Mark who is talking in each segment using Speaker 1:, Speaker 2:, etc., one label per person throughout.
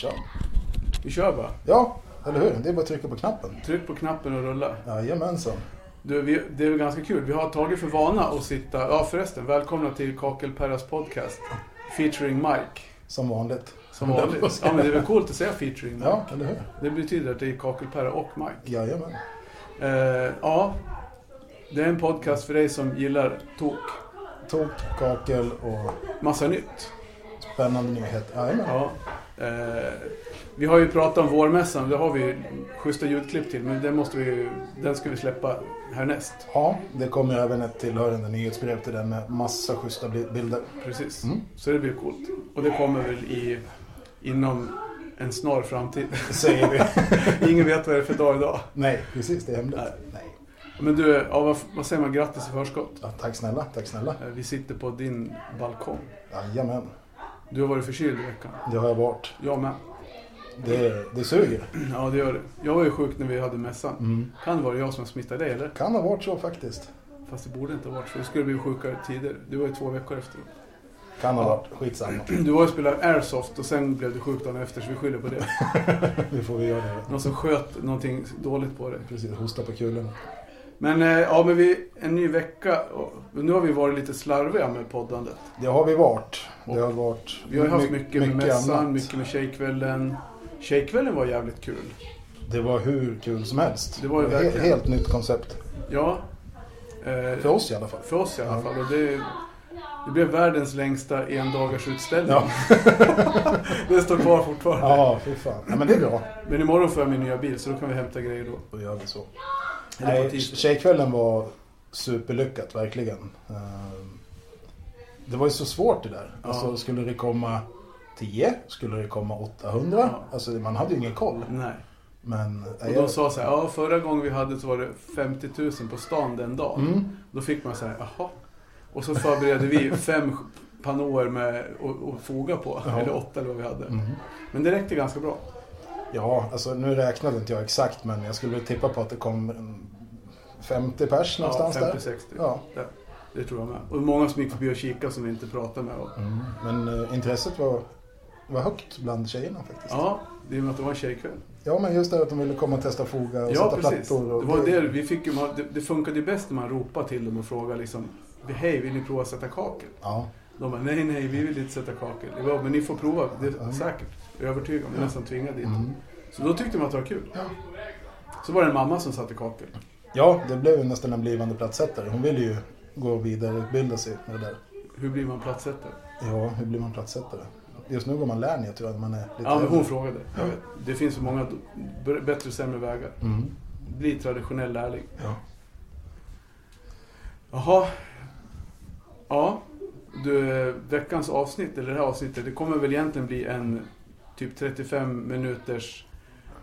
Speaker 1: kör.
Speaker 2: Vi kör bara.
Speaker 1: Ja, eller hur? Det är bara att trycka på knappen.
Speaker 2: Tryck på knappen och rulla.
Speaker 1: Jajamensan.
Speaker 2: Du, vi, det är ju ganska kul. Vi har tagit för vana att sitta... Ja förresten, välkomna till Kakelperras podcast. Featuring Mike.
Speaker 1: Som vanligt.
Speaker 2: Som vanligt. Ja men det är väl coolt att säga featuring Mike.
Speaker 1: Ja, eller hur?
Speaker 2: Det betyder att det är Kakelperra och Mike.
Speaker 1: Jajamän.
Speaker 2: Eh, ja. Det är en podcast för dig som gillar tok.
Speaker 1: Tok, kakel och
Speaker 2: Massa nytt.
Speaker 1: spännande nyheter. Jajamän.
Speaker 2: Ja. Eh, vi har ju pratat om vårmässan. Det har vi ju schyssta ljudklipp till. Men det måste vi, ju- den ska vi släppa härnäst.
Speaker 1: Ja, det kommer ju även ett tillhörande nyhetsbrev till den med massa schyssta bi- bilder.
Speaker 2: Precis,
Speaker 1: Mm.
Speaker 2: så det blir coolt. Och det kommer väl i, inom en snar framtid.
Speaker 1: Säger vi.
Speaker 2: Ingen vet vad det är för dag idag.
Speaker 1: Nej, precis. Det är hemligt.
Speaker 2: Nej.
Speaker 1: Nej.
Speaker 2: Men du, ja, vad, vad säger man? Grattis i förskott.
Speaker 1: Ja, tack snälla, tack snälla.
Speaker 2: Eh, Vi sitter på din balkong.
Speaker 1: Jajamän.
Speaker 2: Du har varit förkyld i veckan.
Speaker 1: Det har jag varit.
Speaker 2: Jag med.
Speaker 1: Det, det suger. Mm.
Speaker 2: Ja, det gör det. Jag var ju sjuk när vi hade mässan. Kan det vara jag som smittade dig, eller?
Speaker 1: Kan ha varit så faktiskt.
Speaker 2: Fast det borde inte ha varit, för du skulle bli sjukare tidigare. Du var ju två veckor efter.
Speaker 1: Kan ha varit. Skitsamma.
Speaker 2: Du var ju och spelade airsoft och sen blev du sjuk dagen efter, så vi skyller på det.
Speaker 1: Nu får vi göra det.
Speaker 2: Någon som sköt någonting dåligt på dig.
Speaker 1: Precis, hosta på kulorna.
Speaker 2: Men eh, ja, men vi, en ny vecka. och Nu har vi varit lite slarviga med poddandet.
Speaker 1: Det har vi varit. Det har varit
Speaker 2: Vi har ju haft
Speaker 1: my-
Speaker 2: mycket med mässan,
Speaker 1: annat.
Speaker 2: mycket med tjejkvällen. Tjejkvällen var jävligt kul.
Speaker 1: Det var hur kul som helst.
Speaker 2: Det var ju
Speaker 1: He-
Speaker 2: verkligen.
Speaker 1: Helt nytt koncept.
Speaker 2: Ja. Eh,
Speaker 1: För oss i alla fall.
Speaker 2: för oss i alla fall. Och det, det blev världens längsta endagarsutställning.
Speaker 1: Ja,
Speaker 2: Det står kvar fortfarande.
Speaker 1: ja fy fan. Ja, men det är bra.
Speaker 2: Men imorgon får jag min nya bil så då kan vi hämta grejer då.
Speaker 1: Då gör vi så.
Speaker 2: Eller på
Speaker 1: Nej,
Speaker 2: tisdag.
Speaker 1: tjejkvällen var superlyckat, verkligen. Ehm, Det var ju så svårt det där. Alltså, skulle det komma 10? Skulle det komma 800?
Speaker 2: Ja.
Speaker 1: Alltså, man hade ju ingen koll.
Speaker 2: Nej.
Speaker 1: Men... eh,
Speaker 2: Och de sa så här, ja förra gången vi hade så var det 50 000 på stan den dagen.
Speaker 1: Mm.
Speaker 2: Då fick man så här, jaha. Och så förberedde vi fem pannåer med och, och foga på,
Speaker 1: Ja. Mm.
Speaker 2: eller åtta eller vad vi hade. Men det räckte ganska bra.
Speaker 1: Ja, alltså nu räknade inte jag exakt men jag skulle väl tippa på att det kom en 50 pers
Speaker 2: Ja,
Speaker 1: någonstans där.
Speaker 2: 50-60.
Speaker 1: Ja.
Speaker 2: Det, det tror jag med. Och många som gick förbi och kikade som vi inte pratade med. Och,
Speaker 1: Mm. Men eh, intresset var, var högt bland tjejerna faktiskt. Ja.
Speaker 2: ja, det är med att det var en tjejkväll.
Speaker 1: men just det här att de ville komma och testa foga och
Speaker 2: Ja,
Speaker 1: sätta
Speaker 2: precis.
Speaker 1: plattor. Och
Speaker 2: Det, var det, vi fick, ju- man- det, det funkade ju bäst när man ropade till dem och frågade liksom, hej vill ni prova att sätta kakel?
Speaker 1: Ja,
Speaker 2: De bara, nej, nej, vi vill inte sätta kakel. Jag bara, men ni får prova, det är säkert. Övertygad, men nästan tvingad dit.
Speaker 1: Mm.
Speaker 2: Så då tyckte de att det var kul. Så var det en mamma som satte kakel.
Speaker 1: ja, det blev ju nästan en blivande platssättare. Hon ville ju gå och vidareutbilda sig med det där.
Speaker 2: Hur blir man platssättare?
Speaker 1: Ja, hur blir man platssättare? Just nu går man Lernia tror jag, när man är lite
Speaker 2: Ja, men
Speaker 1: äldre.
Speaker 2: hon frågade. Jag vet. Det finns så många b- bättre och sämre vägar.
Speaker 1: Mm.
Speaker 2: Bli traditionell lärling.
Speaker 1: Ja.
Speaker 2: Jaha. Ja. Du, eh, veckans avsnitt, eller det här avsnittet, det kommer väl egentligen bli en typ 35 minuters...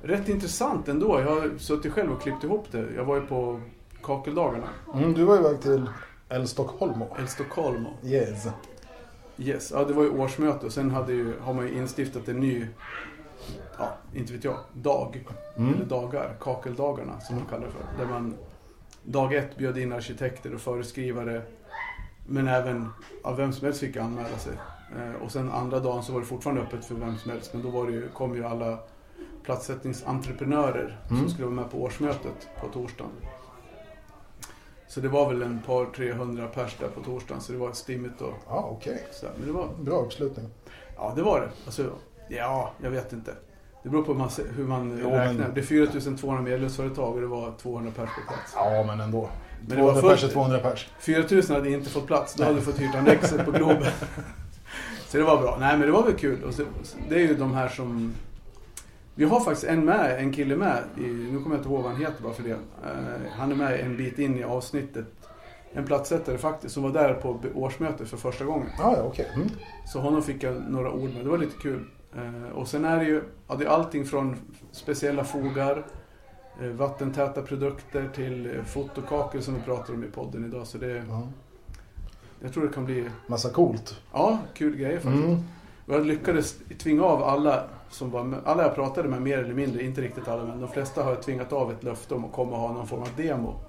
Speaker 2: Rätt intressant ändå. Jag har suttit själv och klippt ihop det. Jag var ju på kakeldagarna.
Speaker 1: Mm, du var iväg till El Stockholm.
Speaker 2: El Stockholmo.
Speaker 1: Yes.
Speaker 2: Yes, ja, det var ju årsmöte och sen hade ju, har man ju instiftat en ny, ja, inte vet jag, dag. Eller dagar, kakeldagarna som man kallar det för. Där man dag ett bjöd in arkitekter och föreskrivare. Men även, ja, vem som helst fick anmäla sig. Eh, Och sen andra dagen så var det fortfarande öppet för vem som helst. Men då var det ju, kom ju alla platssättningsentreprenörer som skulle vara med på årsmötet på torsdagen. Så det var väl en par 300 pers där på torsdagen så det var stimmigt och
Speaker 1: Ja, okej.
Speaker 2: så här, men det var,
Speaker 1: Bra uppslutning.
Speaker 2: ja, det var det. Alltså, ja, jag vet inte. Det beror på hur man, se- hur man
Speaker 1: Jo,
Speaker 2: räknar.
Speaker 1: men-
Speaker 2: Det är 4200 medlemsföretag och det var 200 pers på plats.
Speaker 1: Ja, men ändå.
Speaker 2: det
Speaker 1: 200
Speaker 2: var
Speaker 1: pers är
Speaker 2: fullt.
Speaker 1: 200 pers.
Speaker 2: 4000 hade inte fått plats. Då hade du fått hyrt Annexet på Globen. så det var bra. Nej, men det var väl kul. Och så, det är ju de här som... Vi har faktiskt en med, en kille med. I, nu kommer jag inte ihåg vad han heter bara för det. Eh, han är med en bit in i avsnittet. En platssättare faktiskt, som var där på årsmötet för första gången.
Speaker 1: Ja, ja, okej. Mm.
Speaker 2: Så honom fick jag några ord med, det var lite kul. Eh, och sen är det ju ja, det är allting från speciella fogar, eh, vattentäta produkter till eh, fotokakel som vi pratar om i podden idag. Så det,
Speaker 1: Ja.
Speaker 2: jag tror det kan bli
Speaker 1: Massa coolt.
Speaker 2: ja, kul grejer faktiskt.
Speaker 1: Mm.
Speaker 2: Och Jag lyckades tvinga av alla som var med, alla jag pratade med mer eller mindre, inte riktigt alla men de flesta har jag tvingat av ett löfte om att komma och ha någon form av demo.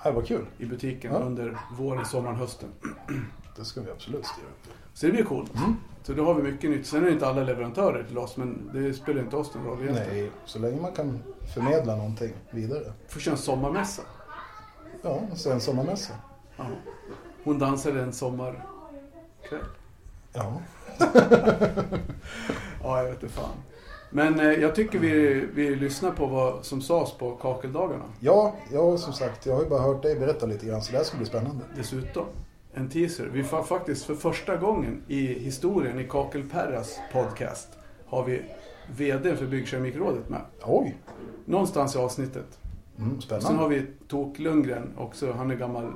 Speaker 1: här var kul.
Speaker 2: i butiken
Speaker 1: Ja.
Speaker 2: under våren, sommaren, hösten.
Speaker 1: Det ska vi absolut Mm. skriva.
Speaker 2: Så det blir coolt. Så då har vi mycket nytt. Sen är det inte alla leverantörer till oss, men det spelar inte oss någon roll egentligen.
Speaker 1: Nej, så länge man kan förmedla någonting vidare.
Speaker 2: Får köra en sommarmässa.
Speaker 1: Ja, sen sommarmässa.
Speaker 2: Ja. Hon dansade en sommarkväll.
Speaker 1: Ja,
Speaker 2: Ja, jag vet inte fan. Men eh, jag tycker vi, vi lyssnar på vad som sades på kakeldagarna.
Speaker 1: ja, ja som sagt, jag har ju bara hört dig berätta lite grann så det här ska bli spännande.
Speaker 2: Dessutom en teaser. Vi får faktiskt för första gången i historien i Kakelperras podcast har vi VD för Byggkeramikrådet med.
Speaker 1: Oj,
Speaker 2: Någonstans i avsnittet.
Speaker 1: mm,
Speaker 2: Sen har
Speaker 1: spännande.
Speaker 2: vi Tok Lundgren också. Han är gammal,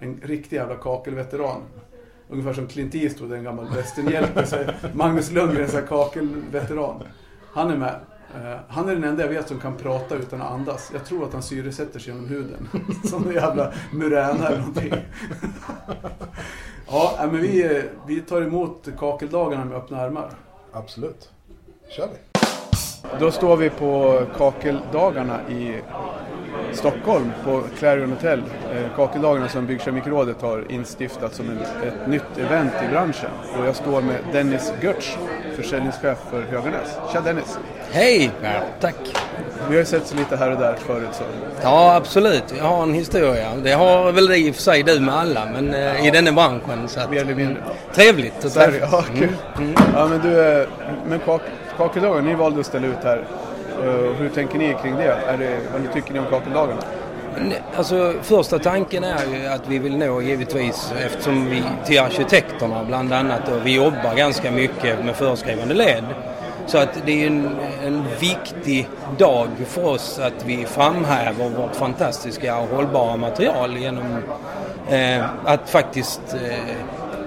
Speaker 2: en riktig jävla kakelveteran. Ungefär som Clint Eastwood, en gammal västernhjälte. så är Magnus Lundgren, så här kakelveteran. Han är med. Eh, Han är den enda jag vet som kan prata utan att andas. Jag tror att han syresätter sig genom huden. Som en jävla muräna eller någonting. Ja, nej, men vi, eh, vi tar emot kakeldagarna med öppna armar.
Speaker 1: Absolut. kör vi.
Speaker 2: Då står vi på kakeldagarna i Stockholm på Clarion Hotel. Eh, Kakeldagarna som Byggkemikrådet har instiftat som en, ett nytt event i branschen. Och jag står med Dennis Görtz, försäljningschef för Höganäs. Tja Dennis!
Speaker 3: Hej! Tack!
Speaker 2: Vi har ju sett så lite här och där förut så.
Speaker 3: Ja, absolut. Jag har en historia. Det har väl i och för sig du med alla, men eh, i denna branschen. Så att,
Speaker 2: Mer eller mindre.
Speaker 3: trevligt att
Speaker 2: Så här,
Speaker 3: träffas.
Speaker 2: ja, kul. Ja, men du, eh, men kak, Kakeldagarna, ni valde att ställa ut här. Eh, Hur tänker ni kring det? Är det vad tycker ni om Kakeldagarna?
Speaker 3: Men, Alltså, första tanken är ju att vi vill nå givetvis, eftersom vi till arkitekterna bland annat, och vi jobbar ganska mycket med föreskrivande led. Så att det är en, en viktig dag för oss att vi framhäver vårt fantastiska och hållbara material genom eh, att faktiskt eh,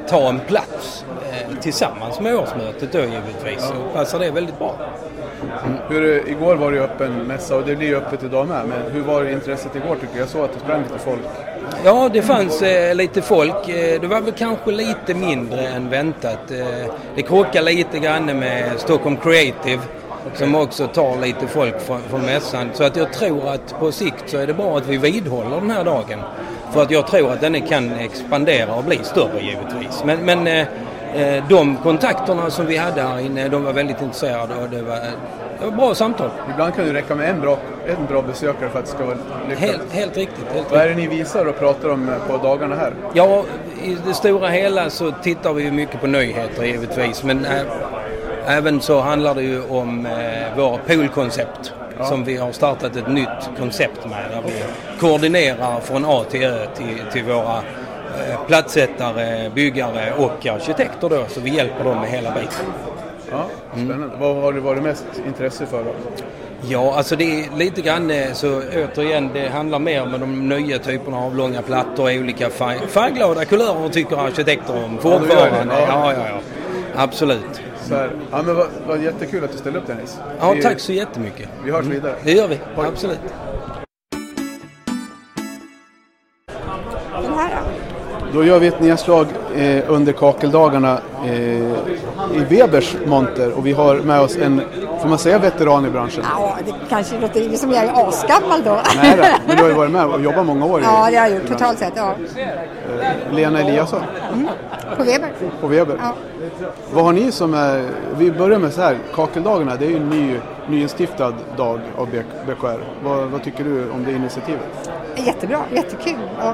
Speaker 3: ta en plats eh, tillsammans med årsmötet då givetvis. Så passar det väldigt bra.
Speaker 2: Hur, igår var det ju öppen mässa och det blir ju öppet idag med. Men hur var intresset igår tycker du? Jag såg att det sprang lite folk.
Speaker 3: Ja, det fanns eh, lite folk. Eh, det var väl kanske lite mindre än väntat. Eh, det krockar lite grann med Stockholm Creative som också tar lite folk från, från mässan. Så att jag tror att på sikt så är det bra att vi vidhåller den här dagen. För att jag tror att den kan expandera och bli större givetvis. Men, men eh, eh, de kontakterna som vi hade här inne, de var väldigt intresserade och det var, det var bra samtal.
Speaker 2: Ibland kan det räcka med en bra, en bra besökare för att det ska vara lyckat.
Speaker 3: Helt, helt riktigt. Helt
Speaker 2: Vad
Speaker 3: riktigt.
Speaker 2: är det ni visar och pratar om eh, på dagarna här?
Speaker 3: Ja, i det stora hela så tittar vi ju mycket på nyheter givetvis. Men ä- även så handlar det ju om eh, våra poolkoncept. Som vi har startat ett nytt koncept med. Där vi koordinerar från A till Ö till, till våra eh, plattsättare, byggare och arkitekter då. Så vi hjälper dem med hela biten.
Speaker 2: Ja,
Speaker 3: Mm.
Speaker 2: spännande. Vad har det varit mest intresse för? Då?
Speaker 3: Ja, alltså det är lite grann eh, så återigen det handlar mer om de nya typerna av långa plattor i olika färg, färgglada kulörer tycker arkitekter om
Speaker 2: gör det,
Speaker 3: fortfarande.
Speaker 2: ja.
Speaker 3: Ja, ja, ja. Absolut.
Speaker 2: Så här, ja, men vad, vad jättekul att du ställde upp Dennis.
Speaker 3: Ja,
Speaker 2: vi,
Speaker 3: tack så jättemycket. Mm.
Speaker 2: Vi hörs vidare.
Speaker 3: Det gör vi, absolut.
Speaker 4: Den här då?
Speaker 2: Då gör vi ett nedslag eh, under kakeldagarna eh, i Webers monter och vi har med oss en, får man säga veteran i branschen?
Speaker 4: Ja, det kanske låter som jag är asgammal då.
Speaker 2: Nej då, men du har ju varit med och jobbat många år i-
Speaker 4: Ja, det har jag
Speaker 2: i
Speaker 4: gjort
Speaker 2: branschen. Eh,
Speaker 4: totalt sett. Ja. Mm.
Speaker 2: Lena Eliasson
Speaker 4: På Weber.
Speaker 2: på Weber.
Speaker 4: Ja.
Speaker 2: Vad har ni som är, vi börjar med så här, kakeldagarna det är ju en ny, nyinstiftad dag av B- BKR. Vad, vad tycker du om det initiativet?
Speaker 4: Jättebra, jättekul. Ja.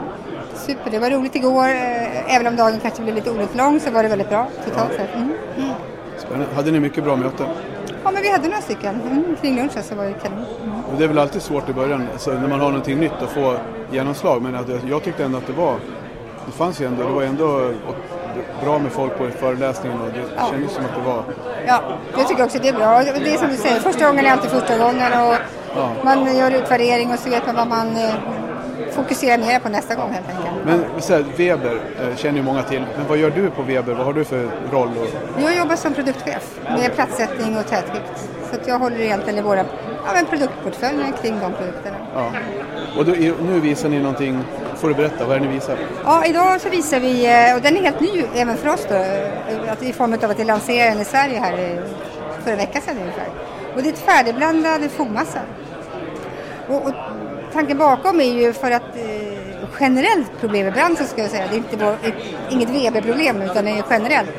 Speaker 4: Super, det var roligt igår. Eh, Även om dagen kanske blev lite onödigt lång så var det väldigt bra totalt sett. Mm. Mm.
Speaker 2: Spännande. Hade ni mycket bra möten?
Speaker 4: Ja, men vi hade några stycken. Mm. Kring lunchen så var det kanon. Mm.
Speaker 2: Och det är väl alltid svårt i början alltså, när man har någonting nytt att få genomslag men att, jag- jag tyckte ändå att det var, det fanns ju ändå, det var ändå och- bra med folk på föreläsningen och det
Speaker 4: Ja.
Speaker 2: kändes som att det var
Speaker 4: Ja, jag tycker också det är bra. Och Det är som du säger, första gången är alltid första gången. Och
Speaker 2: Ja.
Speaker 4: Man gör utvärdering och så vet man vad man eh, fokuserar mer på nästa gång helt enkelt.
Speaker 2: Men så här, Weber eh, känner ju många till, men vad gör du på Weber? Vad har du för roll? Och,
Speaker 4: Jag jobbar som produktchef med platssättning och tätvikt. Så att jag håller egentligen i våra ja, men produktportföljer kring de produkterna.
Speaker 2: ja. och då, i- nu visar ni någonting, får du berätta, vad är det ni visar?
Speaker 4: Ja, idag så visar vi, eh, och den är helt ny även för oss då, eh, att i form av att vi lanserade den i Sverige här eh, för en vecka sedan ungefär. Och det är ett färdigblandad fogmassa. Och, och tanken bakom är ju för att eh, generellt problem i branschen ska jag säga, det är inte vår, inget VB-problem utan det är generellt,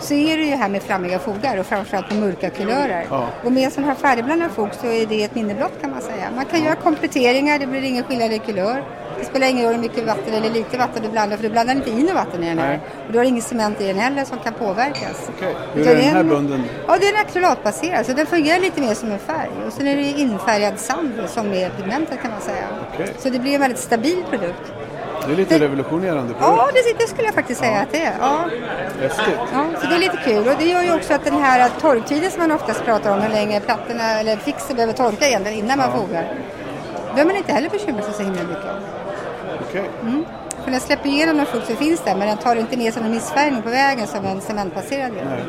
Speaker 4: så är det ju här med flammiga fogar och framförallt med mörka kulörer.
Speaker 2: Ja.
Speaker 4: Och med en sån här färdigblandad fog så är det ett minneblått kan man säga. Man kan göra kompletteringar, det blir ingen skillnad i kulör. Det spelar ingen roll hur mycket vatten eller lite vatten du blandar för du blandar inte in något vatten i den här.
Speaker 2: Nej.
Speaker 4: Och du har ingen cement i den heller som kan påverkas.
Speaker 2: Okej. Hur
Speaker 4: Utan
Speaker 2: är den här
Speaker 4: en-
Speaker 2: bunden?
Speaker 4: Ja, det är en akrylatbaserad så den fungerar lite mer som en färg. Och sen är det infärgad sand som är pigmentet kan man säga.
Speaker 2: Okej.
Speaker 4: Så det blir en väldigt stabil produkt.
Speaker 2: Det är lite revolutionerande
Speaker 4: Ja,
Speaker 2: produkt.
Speaker 4: det, det skulle jag faktiskt säga att det är. Ja.
Speaker 2: Häftigt.
Speaker 4: Ja, så det är lite kul. Och det gör ju också att den här torktiden som man oftast pratar om, hur länge plattorna eller fixer behöver torka egentligen innan man fogar. Då är man inte heller bekymrad sig så himla mycket om.
Speaker 2: Okej.
Speaker 4: För den släpper igenom den frukt som finns där men den tar inte med sig någon missfärgning på vägen som en cementbaserad gör.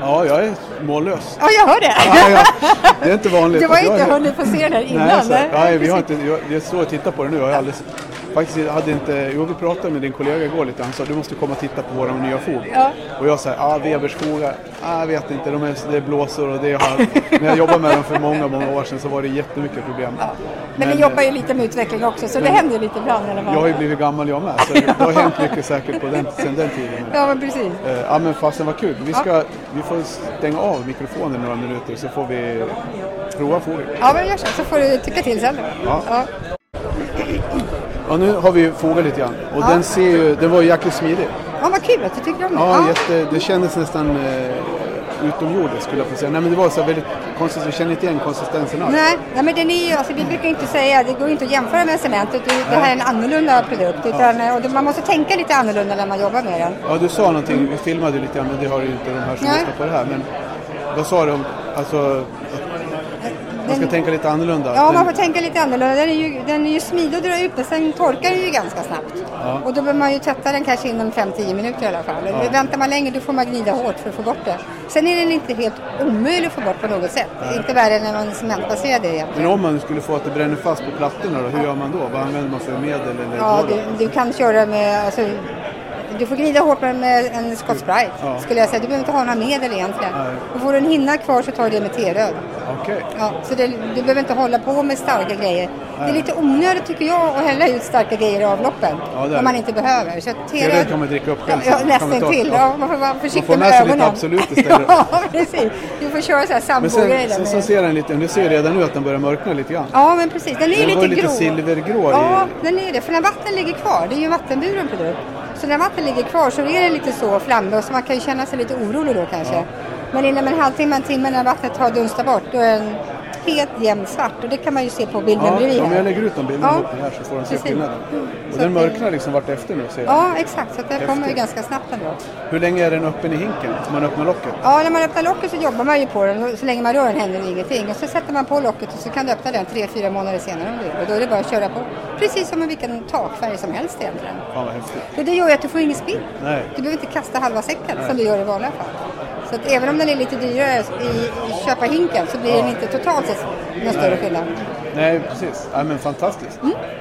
Speaker 2: Ja, jag är mållös.
Speaker 4: Ja, jag hör det!
Speaker 2: Ja, ja. Det är inte vanligt.
Speaker 4: Du har
Speaker 2: att jag
Speaker 4: inte
Speaker 2: är-
Speaker 4: hunnit få se den här innan.
Speaker 2: Nej, så,
Speaker 4: nej.
Speaker 2: nej, vi har inte, jag, jag står och tittar på det nu. Jag har alldeles, faktiskt jag hade inte, jo, vi pratade med din kollega igår lite. Han sa du måste komma och titta på våra nya fog.
Speaker 4: Ja.
Speaker 2: Och jag sa, ah, Webers fogar, ah, jag vet inte, de är, det är blåsor och det har... När jag jobbade med dem för många, många år sedan så var det jättemycket problem.
Speaker 4: Men,
Speaker 2: Men, eh,
Speaker 4: vi jobbar ju lite med utveckling också så det händer lite ibland i alla fall.
Speaker 2: Jag har ju blivit gammal jag med, så det har hänt mycket säkert på den, sen den tiden.
Speaker 4: Ja, men precis.
Speaker 2: Eh, Ja men fasen vad kul. Vi, ska, vi får stänga av mikrofonen några minuter så får vi prova fågel.
Speaker 4: Ja, men gör så. Så får du tycka till sen då.
Speaker 2: Ja. Ja nu har vi fågel lite grann och
Speaker 4: Ja.
Speaker 2: den ser ju, den var ju jäkligt smidig.
Speaker 4: Ja, vad kul att du tycker om det.
Speaker 2: Ja, Jätte, det kändes nästan eh, utomjordiskt skulle jag få säga. Nej men det var så här väldigt konstigt, vi känner inte igen konsistensen alls.
Speaker 4: Nej, nej, men den är ju, alltså, vi brukar inte säga, det går ju inte att jämföra med cement, utan det här är en annorlunda produkt. Utan, eh, och det, man måste tänka lite annorlunda när man jobbar med den.
Speaker 2: Ja du sa någonting, vi filmade ju lite grann men det har ju inte de här som
Speaker 4: Nej.
Speaker 2: lyssnar på det här. Men vad sa du om, alltså att man ska
Speaker 4: Den-
Speaker 2: tänka lite annorlunda?
Speaker 4: Ja, man
Speaker 2: Den-
Speaker 4: får tänka lite annorlunda. Den är ju, den är ju smidig att dra ut, men sen torkar den ju ganska snabbt. Och då behöver man ju tvätta den kanske inom 5-10 minuter i alla fall. Väntar man länge då får man gnida hårt för att få bort det. Sen är den inte helt omöjlig att få bort på något sätt. Inte värre än när man cementbaserad är egentligen.
Speaker 2: Men om man skulle få att det bränner fast på plattorna då, hur gör man då? Vad använder man för medel eller
Speaker 4: Ja,
Speaker 2: vad då?
Speaker 4: du, du kan köra med... Alltså, du får glida hårt med, med en Scott Sprite,
Speaker 2: Ja.
Speaker 4: skulle jag säga. Du behöver inte ha några medel egentligen.
Speaker 2: Nej.
Speaker 4: Och får du en hinna kvar så tar du det med T-röd.
Speaker 2: Okej.
Speaker 4: Ja, så det, du behöver inte hålla på med starka grejer. Det är
Speaker 2: Nej.
Speaker 4: lite onödigt tycker jag att hälla ut starka grejer i avloppen.
Speaker 2: Ja, det är
Speaker 4: om man
Speaker 2: det.
Speaker 4: inte behöver. Så
Speaker 2: T-röd kan man dricka upp själv,
Speaker 4: Ja,
Speaker 2: så kan man
Speaker 4: nästan
Speaker 2: ta-
Speaker 4: till.
Speaker 2: ja.
Speaker 4: Ja, man får vara försiktig
Speaker 2: får med
Speaker 4: med
Speaker 2: sig
Speaker 4: ögonen.
Speaker 2: lite Absolut istället.
Speaker 4: Ja, precis. Du får köra så här
Speaker 2: Men sen,
Speaker 4: sambogrejer.
Speaker 2: sen
Speaker 4: med-
Speaker 2: så ser den lite, du ser redan nu att den börjar mörkna lite grann.
Speaker 4: Ja, men precis. Den är ju
Speaker 2: Den var
Speaker 4: lite
Speaker 2: ju lite
Speaker 4: grå.
Speaker 2: silvergrå i-
Speaker 4: Ja, den är det. För när vatten ligger kvar, det är ju en vattenburen produkt. Så när vatten ligger kvar så är det lite så flammig och så man kan ju känna sig lite orolig då kanske. Men inom en halvtimme, en timme när vattnet har dunstat bort, då är den helt jämn svart. Och det kan man ju se på bilden
Speaker 2: Ja,
Speaker 4: bredvid
Speaker 2: om
Speaker 4: här.
Speaker 2: jag lägger ut de bilderna
Speaker 4: Ja,
Speaker 2: mot den här så får de se
Speaker 4: precis. Mm,
Speaker 2: skillnaden.
Speaker 4: Så
Speaker 2: Och den
Speaker 4: att det-
Speaker 2: mörknar liksom vart efter nu ser jag.
Speaker 4: Ja, exakt. Så att den kommer ju
Speaker 2: Häftigt.
Speaker 4: ganska snabbt ändå.
Speaker 2: Hur länge är den öppen i hinken? Om man öppnar locket?
Speaker 4: Ja, när man öppnar locket så jobbar man ju på den. och Så länge man rör den händer ingenting. Och så sätter man på locket och så kan du öppna den tre, fyra månader senare om du vill. Och då är det bara att köra på. Precis som med vilken takfärg som helst egentligen.
Speaker 2: Fan vad häftigt.
Speaker 4: Och det gör ju att du får ingen spill.
Speaker 2: Nej.
Speaker 4: Du behöver inte kasta halva säcken som du gör i vanliga fall. Så att även om den är lite dyrare i, i köpa hinken så blir den inte totalt sett någon större skillnad. Mm,
Speaker 2: Nej, precis. Ja, men fantastiskt.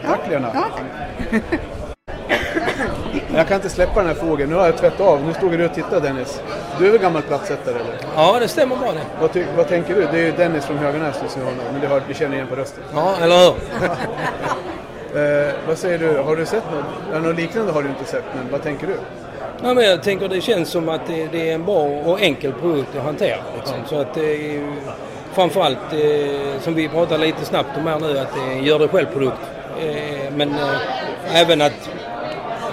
Speaker 2: Tack Lena.
Speaker 4: Ja, tack.
Speaker 2: Jag kan inte släppa den här fågeln. Nu har jag tvättat av. Nu stod du och tittade Dennis. Du är väl gammal plattsättare eller?
Speaker 3: Ja, det stämmer bra det.
Speaker 2: Vad, ty- vad tänker du? Det är ju Dennis från Höganäs du ser honom. Men det hör, du känner igen på rösten.
Speaker 3: Ja, eller hur?
Speaker 2: Eh, vad säger du? Har du sett något? Ja, något liknande har du inte sett, men vad tänker du?
Speaker 3: Nej, men jag tänker det känns som att det, det är en bra och enkel produkt att hantera. Liksom. Så att det är ju framförallt, eh, som vi pratar lite snabbt om här nu, att det är en gör det själv-produkt. Eh, men eh, även att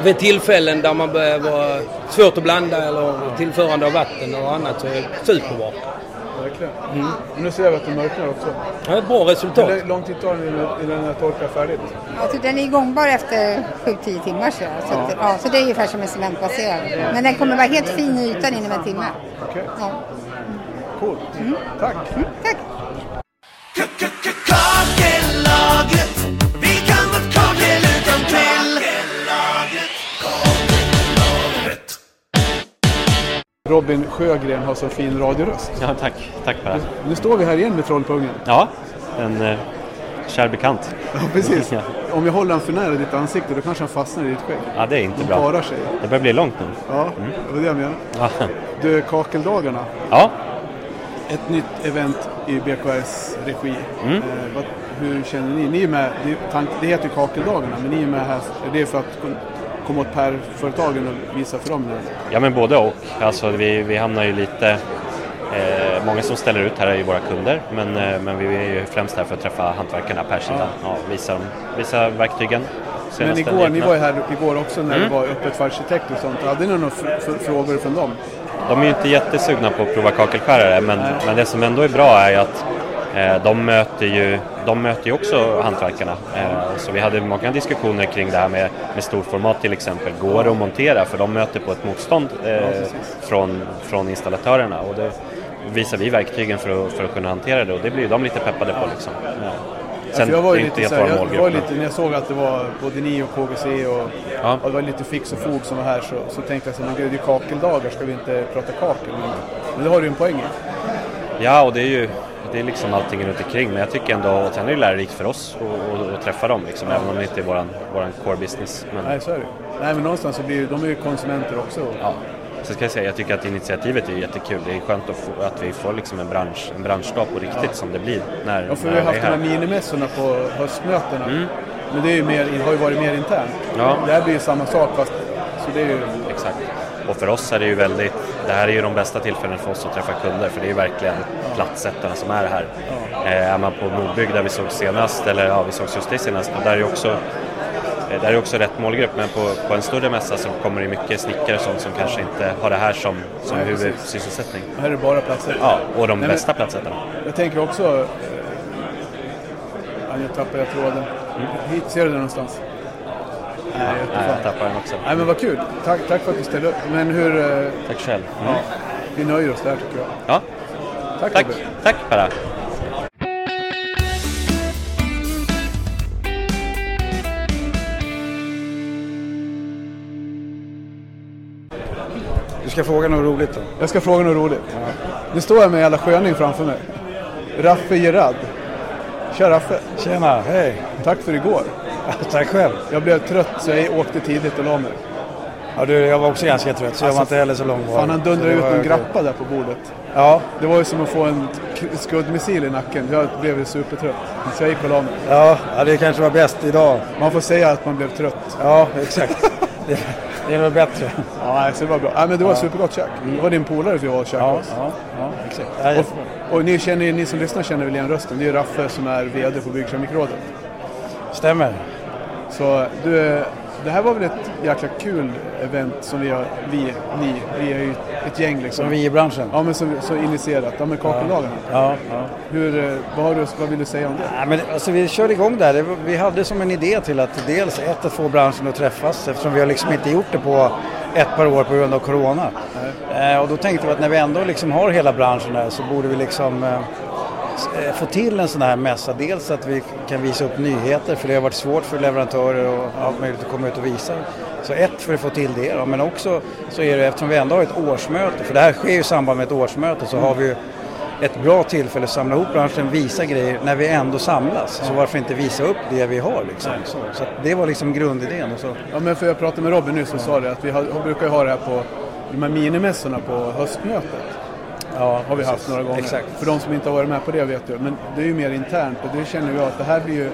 Speaker 3: vid tillfällen där man behöver svårt att blanda eller tillförande av vatten och annat så är det superbra. Mm.
Speaker 2: Verkligen. Nu ser jag att det mörknar också.
Speaker 3: Ja, ett bra resultat.
Speaker 2: Hur lång tid tar det innan- innan den torkar färdigt?
Speaker 4: Alltså, den är gångbar efter 7-10 timmar så, så, att, ja, så det är ungefär som en cementbaserad. Men den kommer vara helt fin i ytan inom en timme.
Speaker 2: Okej,
Speaker 4: Ja. Mm.
Speaker 2: coolt. Tack.
Speaker 4: Tack!
Speaker 5: Kakellagret. Vi kan vårt kakel utan till.
Speaker 2: Robin Sjögren har så fin radioröst.
Speaker 6: Ja, tack. Tack Per.
Speaker 2: Nu står vi här igen med Trollpungen.
Speaker 6: Ja, en eh, kär bekant.
Speaker 2: Ja, precis.
Speaker 6: Ja.
Speaker 2: Om jag håller han för nära ditt ansikte då kanske han fastnar i ditt skägg.
Speaker 6: Ja, det är inte
Speaker 2: Han
Speaker 6: bra.
Speaker 2: parar sig.
Speaker 6: Det börjar bli långt nu.
Speaker 2: Ja, det var det jag menade.
Speaker 6: Ja.
Speaker 2: Du, Kakeldagarna.
Speaker 6: Ja, Mm.
Speaker 2: Ett nytt event i BKS regi. Eh, vad, hur känner ni? Ni är med, det- tank- det heter ju Kakeldagarna, men ni är med här, är det för att kom- komma åt Per-företagen och visa för dem nu?
Speaker 6: Ja, men både och. Alltså, vi, vi hamnar ju lite... Eh, många som ställer ut här är ju våra kunder, men, eh, men vi är ju främst här för att träffa hantverkarna per sidan. Ja, visa, dem- visa verktygen.
Speaker 2: Men
Speaker 6: senaste Mm.
Speaker 2: igår, ni
Speaker 6: nyheterna.
Speaker 2: var ju här igår också när det var öppet för arkitekter och sånt. Hade ni några fr- fr- frågor från dem?
Speaker 6: De är ju inte jättesugna på att prova kakelskärare men, men det som ändå är bra är ju att eh, de möter ju, de möter ju också hantverkarna. Eh, så vi hade många diskussioner kring det här med, med storformat till exempel. Går det att montera? För de möter på ett motstånd eh, från, från installatörerna. Och det visar vi verktygen för att, för att kunna hantera det och det blir ju de lite peppade på. Liksom. Ja. Sen,
Speaker 2: För Alltså, jag var ju
Speaker 6: det är
Speaker 2: lite
Speaker 6: helt
Speaker 2: så här,
Speaker 6: vår
Speaker 2: jag, jag var
Speaker 6: målgrupp, men-
Speaker 2: lite, när jag såg att det var både ni och KVC och,
Speaker 6: Ja.
Speaker 2: och det var lite fix och fog som var här så, så tänkte jag så här, men gud det är ju kakeldagar, ska vi inte prata kakel? Men, men det har du ju en poäng i.
Speaker 6: Mm. Ja, och det är ju det är liksom allting runt omkring. Men jag tycker ändå att sen är det lärorikt för oss att- att- att träffa dem, liksom, även om det inte är våran, våran core business. Men,
Speaker 2: Nej, så är det Nej, men någonstans så blir ju, de är ju konsumenter också.
Speaker 6: ja. Sen ska jag säga, jag tycker att initiativet är jättekul. Det är skönt att, få, att vi får liksom en, bransch, en branschdag på riktigt som det blir när,
Speaker 2: Ja, för
Speaker 6: när
Speaker 2: vi har
Speaker 6: vi
Speaker 2: haft
Speaker 6: är
Speaker 2: de här
Speaker 6: här. Mm.
Speaker 2: minimässorna på höstmötena. Men det är ju mer, har ju varit mer internt.
Speaker 6: Ja.
Speaker 2: Det här blir ju samma sak fast, så det är ju,
Speaker 6: Exakt. Och för oss är det ju väldigt, det här är ju de bästa tillfällena för oss att träffa kunder för det är ju verkligen platsättarna som är här. Eh, är man på Nordbygd där vi såg senast, eller ja, vi såg just det senast, och där är ju också eh, där är ju också rätt målgrupp, men på, på en större mässa så kommer det mycket snickare och sånt som kanske inte har det här som, som
Speaker 2: Nej, precis.
Speaker 6: huvudsysselsättning.
Speaker 2: här är det bara platser.
Speaker 6: Ja, och de
Speaker 2: Nej, men-
Speaker 6: bästa platsättarna.
Speaker 2: Jag tänker också... Eh, ja, nu tappade jag
Speaker 6: Mm.
Speaker 2: tråden. Hit, ser du den någonstans? Nej, jag vet
Speaker 6: Nej,
Speaker 2: inte
Speaker 6: jag
Speaker 2: fan.
Speaker 6: tappar den också.
Speaker 2: Nej, men vad kul. Tack, tack för att du ställde upp. Men hur... Eh,
Speaker 6: Tack själv. Mm.
Speaker 2: ja, vi nöjer oss där tycker jag.
Speaker 6: Ja,
Speaker 2: Tack,
Speaker 6: tack.
Speaker 2: Robert.
Speaker 6: Tack Perra.
Speaker 7: Du ska fråga något roligt då.
Speaker 2: Jag ska fråga något roligt. Nu står jag med en jävla sköning framför mig. Raffe Gerad. Tja Raffe.
Speaker 7: Tjena, hej.
Speaker 2: Tack för igår.
Speaker 7: Tack själv.
Speaker 2: Jag blev trött så jag åkte tidigt och la mig.
Speaker 7: Ja, du, jag var också ganska trött så jag var inte heller så långvarig.
Speaker 2: Alltså, Fan, han
Speaker 7: Så
Speaker 2: dundrade
Speaker 7: det
Speaker 2: ut
Speaker 7: var-
Speaker 2: en grappa där på bordet.
Speaker 7: Ja,
Speaker 2: Det var ju som att få en k- skuddmissil i nacken. Jag blev ju supertrött. Så jag gick och la mig.
Speaker 7: ja, ja, det kanske var bäst idag.
Speaker 2: Man får säga att man blev trött.
Speaker 7: Ja, exakt. det, det är väl bättre.
Speaker 2: Ja, nej, så det var bra. Ja, men det var supergott käk. Det var din polare vi var och käkade hos.
Speaker 7: exakt. Ja, jättebra.
Speaker 2: Och, och ni, känner, ni som lyssnar känner väl igen rösten. Det är ju Raffe som är VD på Byggkeramikrådet.
Speaker 7: Stämmer.
Speaker 2: Så du, det här var väl ett jäkla kul event som vi har, vi, ni, vi är ju ett gäng liksom.
Speaker 7: Som vi i branschen.
Speaker 2: Ja, men som, som initierat. Ja, men kakeldagarna.
Speaker 7: Ja, ja.
Speaker 2: Hur, eh, vad, har du, vad vill du säga om det?
Speaker 7: Ja, men, alltså, vi körde igång där. Det var- Vi hade som en idé till att dels ett, att få branschen att träffas eftersom vi har liksom inte gjort det på ett par år på grund av corona. Eh, och då tänkte vi att när vi ändå liksom har hela branschen här så borde vi liksom eh, s- eh, få till en sån här mässa. Dels att vi kan visa upp nyheter för det har varit svårt för leverantörer och allt möjligt att komma ut och visa. Så ett för att få till det då. men också så är det eftersom vi ändå har ett årsmöte, för det här sker ju i samband med ett årsmöte
Speaker 2: Mm.
Speaker 7: så har vi ju ett bra tillfälle att samla ihop branschen, visa grejer när vi ändå samlas. Så varför inte visa upp det vi har liksom. Så, så att det var liksom grundidén. Och så.
Speaker 2: Ja, men för jag pratade med Robin nu så sa det att vi har, brukar ju ha det här på de här minimässorna på höstmötet.
Speaker 7: Ja,
Speaker 2: har vi haft några gånger.
Speaker 7: Exakt.
Speaker 2: För de som inte har varit med på det vet du. Men det är ju mer internt och det känner jag att det här blir ju...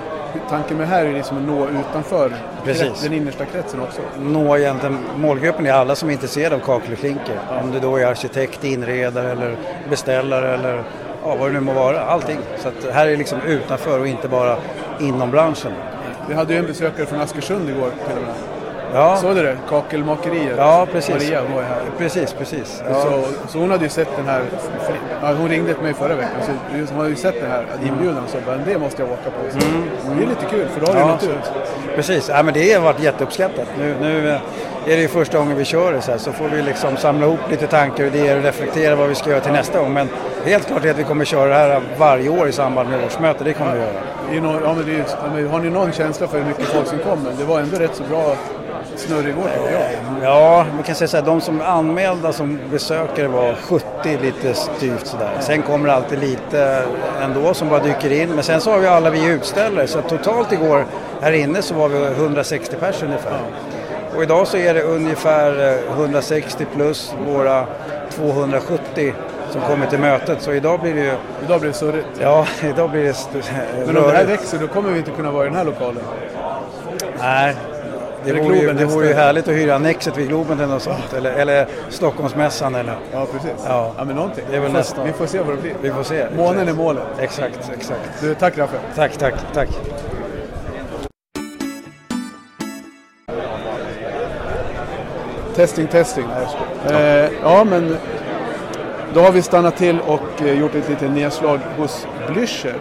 Speaker 2: Tanken med det här är liksom att nå utanför
Speaker 7: Precis.
Speaker 2: krets- den innersta kretsen också.
Speaker 7: nå egentligen målgruppen är alla som är intresserade av kakel och klinker. Om du då är arkitekt, inredare eller beställare eller ja, vad det nu må vara. Allting. Så att här är liksom utanför och inte bara inom branschen.
Speaker 2: Vi hade ju en besökare från Askersund igår till och med.
Speaker 7: Ja,
Speaker 2: Såg du det? Kakelmakeriet.
Speaker 7: ja precis.
Speaker 2: Maria var ju här.
Speaker 7: Precis, precis. Ja.
Speaker 2: Så, så hon hade ju sett den här, ja, hon ringde till mig förra veckan, så hon hade ju sett den här inbjudan och så bara, det måste jag åka på. Så, Mm. Det är lite kul för då har det
Speaker 7: Mm. Ja,
Speaker 2: nått ut.
Speaker 7: Precis, ja, men det har varit jätteuppskattat. Nu, nu eh, är det ju första gången vi kör det så här så får vi liksom samla ihop lite tankar och idéer och reflektera vad vi ska göra till nästa gång. Men helt klart är att vi kommer köra det här varje år i samband med årsmöte, det kommer vi göra.
Speaker 2: I någon, ja, men det är, ju- ja, men har ni någon känsla för hur mycket folk som kommer? Det var ändå rätt så bra snurr igår tycker jag.
Speaker 7: Ja, man kan säga så här, de som anmälda som besökare var 70 lite styvt sådär. Sen kommer det alltid lite ändå som bara dyker in. Men sen så har vi alla vi utställare så att totalt igår här inne så var vi 160 pers ungefär. Och idag så är det ungefär eh, 160 plus våra 270 som kommer till mötet. Så idag blir det ju,
Speaker 2: Idag blir det surrigt.
Speaker 7: ja, idag blir det st-
Speaker 2: Men om det här
Speaker 7: rörigt.
Speaker 2: växer då kommer vi inte kunna vara i den här lokalen.
Speaker 7: Nej, det
Speaker 2: Eller
Speaker 7: vore, ju,
Speaker 2: Globen
Speaker 7: det
Speaker 2: nästa
Speaker 7: vore ju
Speaker 2: år.
Speaker 7: härligt att hyra Annexet vid Globen eller något sånt. Eller, eller Stockholmsmässan eller något.
Speaker 2: Ja, precis.
Speaker 7: Ja.
Speaker 2: men någonting.
Speaker 7: Det är väl
Speaker 2: vi, får,
Speaker 7: nästa.
Speaker 2: vi får se vad det blir.
Speaker 7: Vi får se.
Speaker 2: Månen är målet.
Speaker 7: Exakt, exakt.
Speaker 2: Du, tack Raffe.
Speaker 7: Tack, tack, tack.
Speaker 2: Testing, testing. Eh, ja, men då har vi stannat till och eh, gjort ett litet nedslag hos Blücher.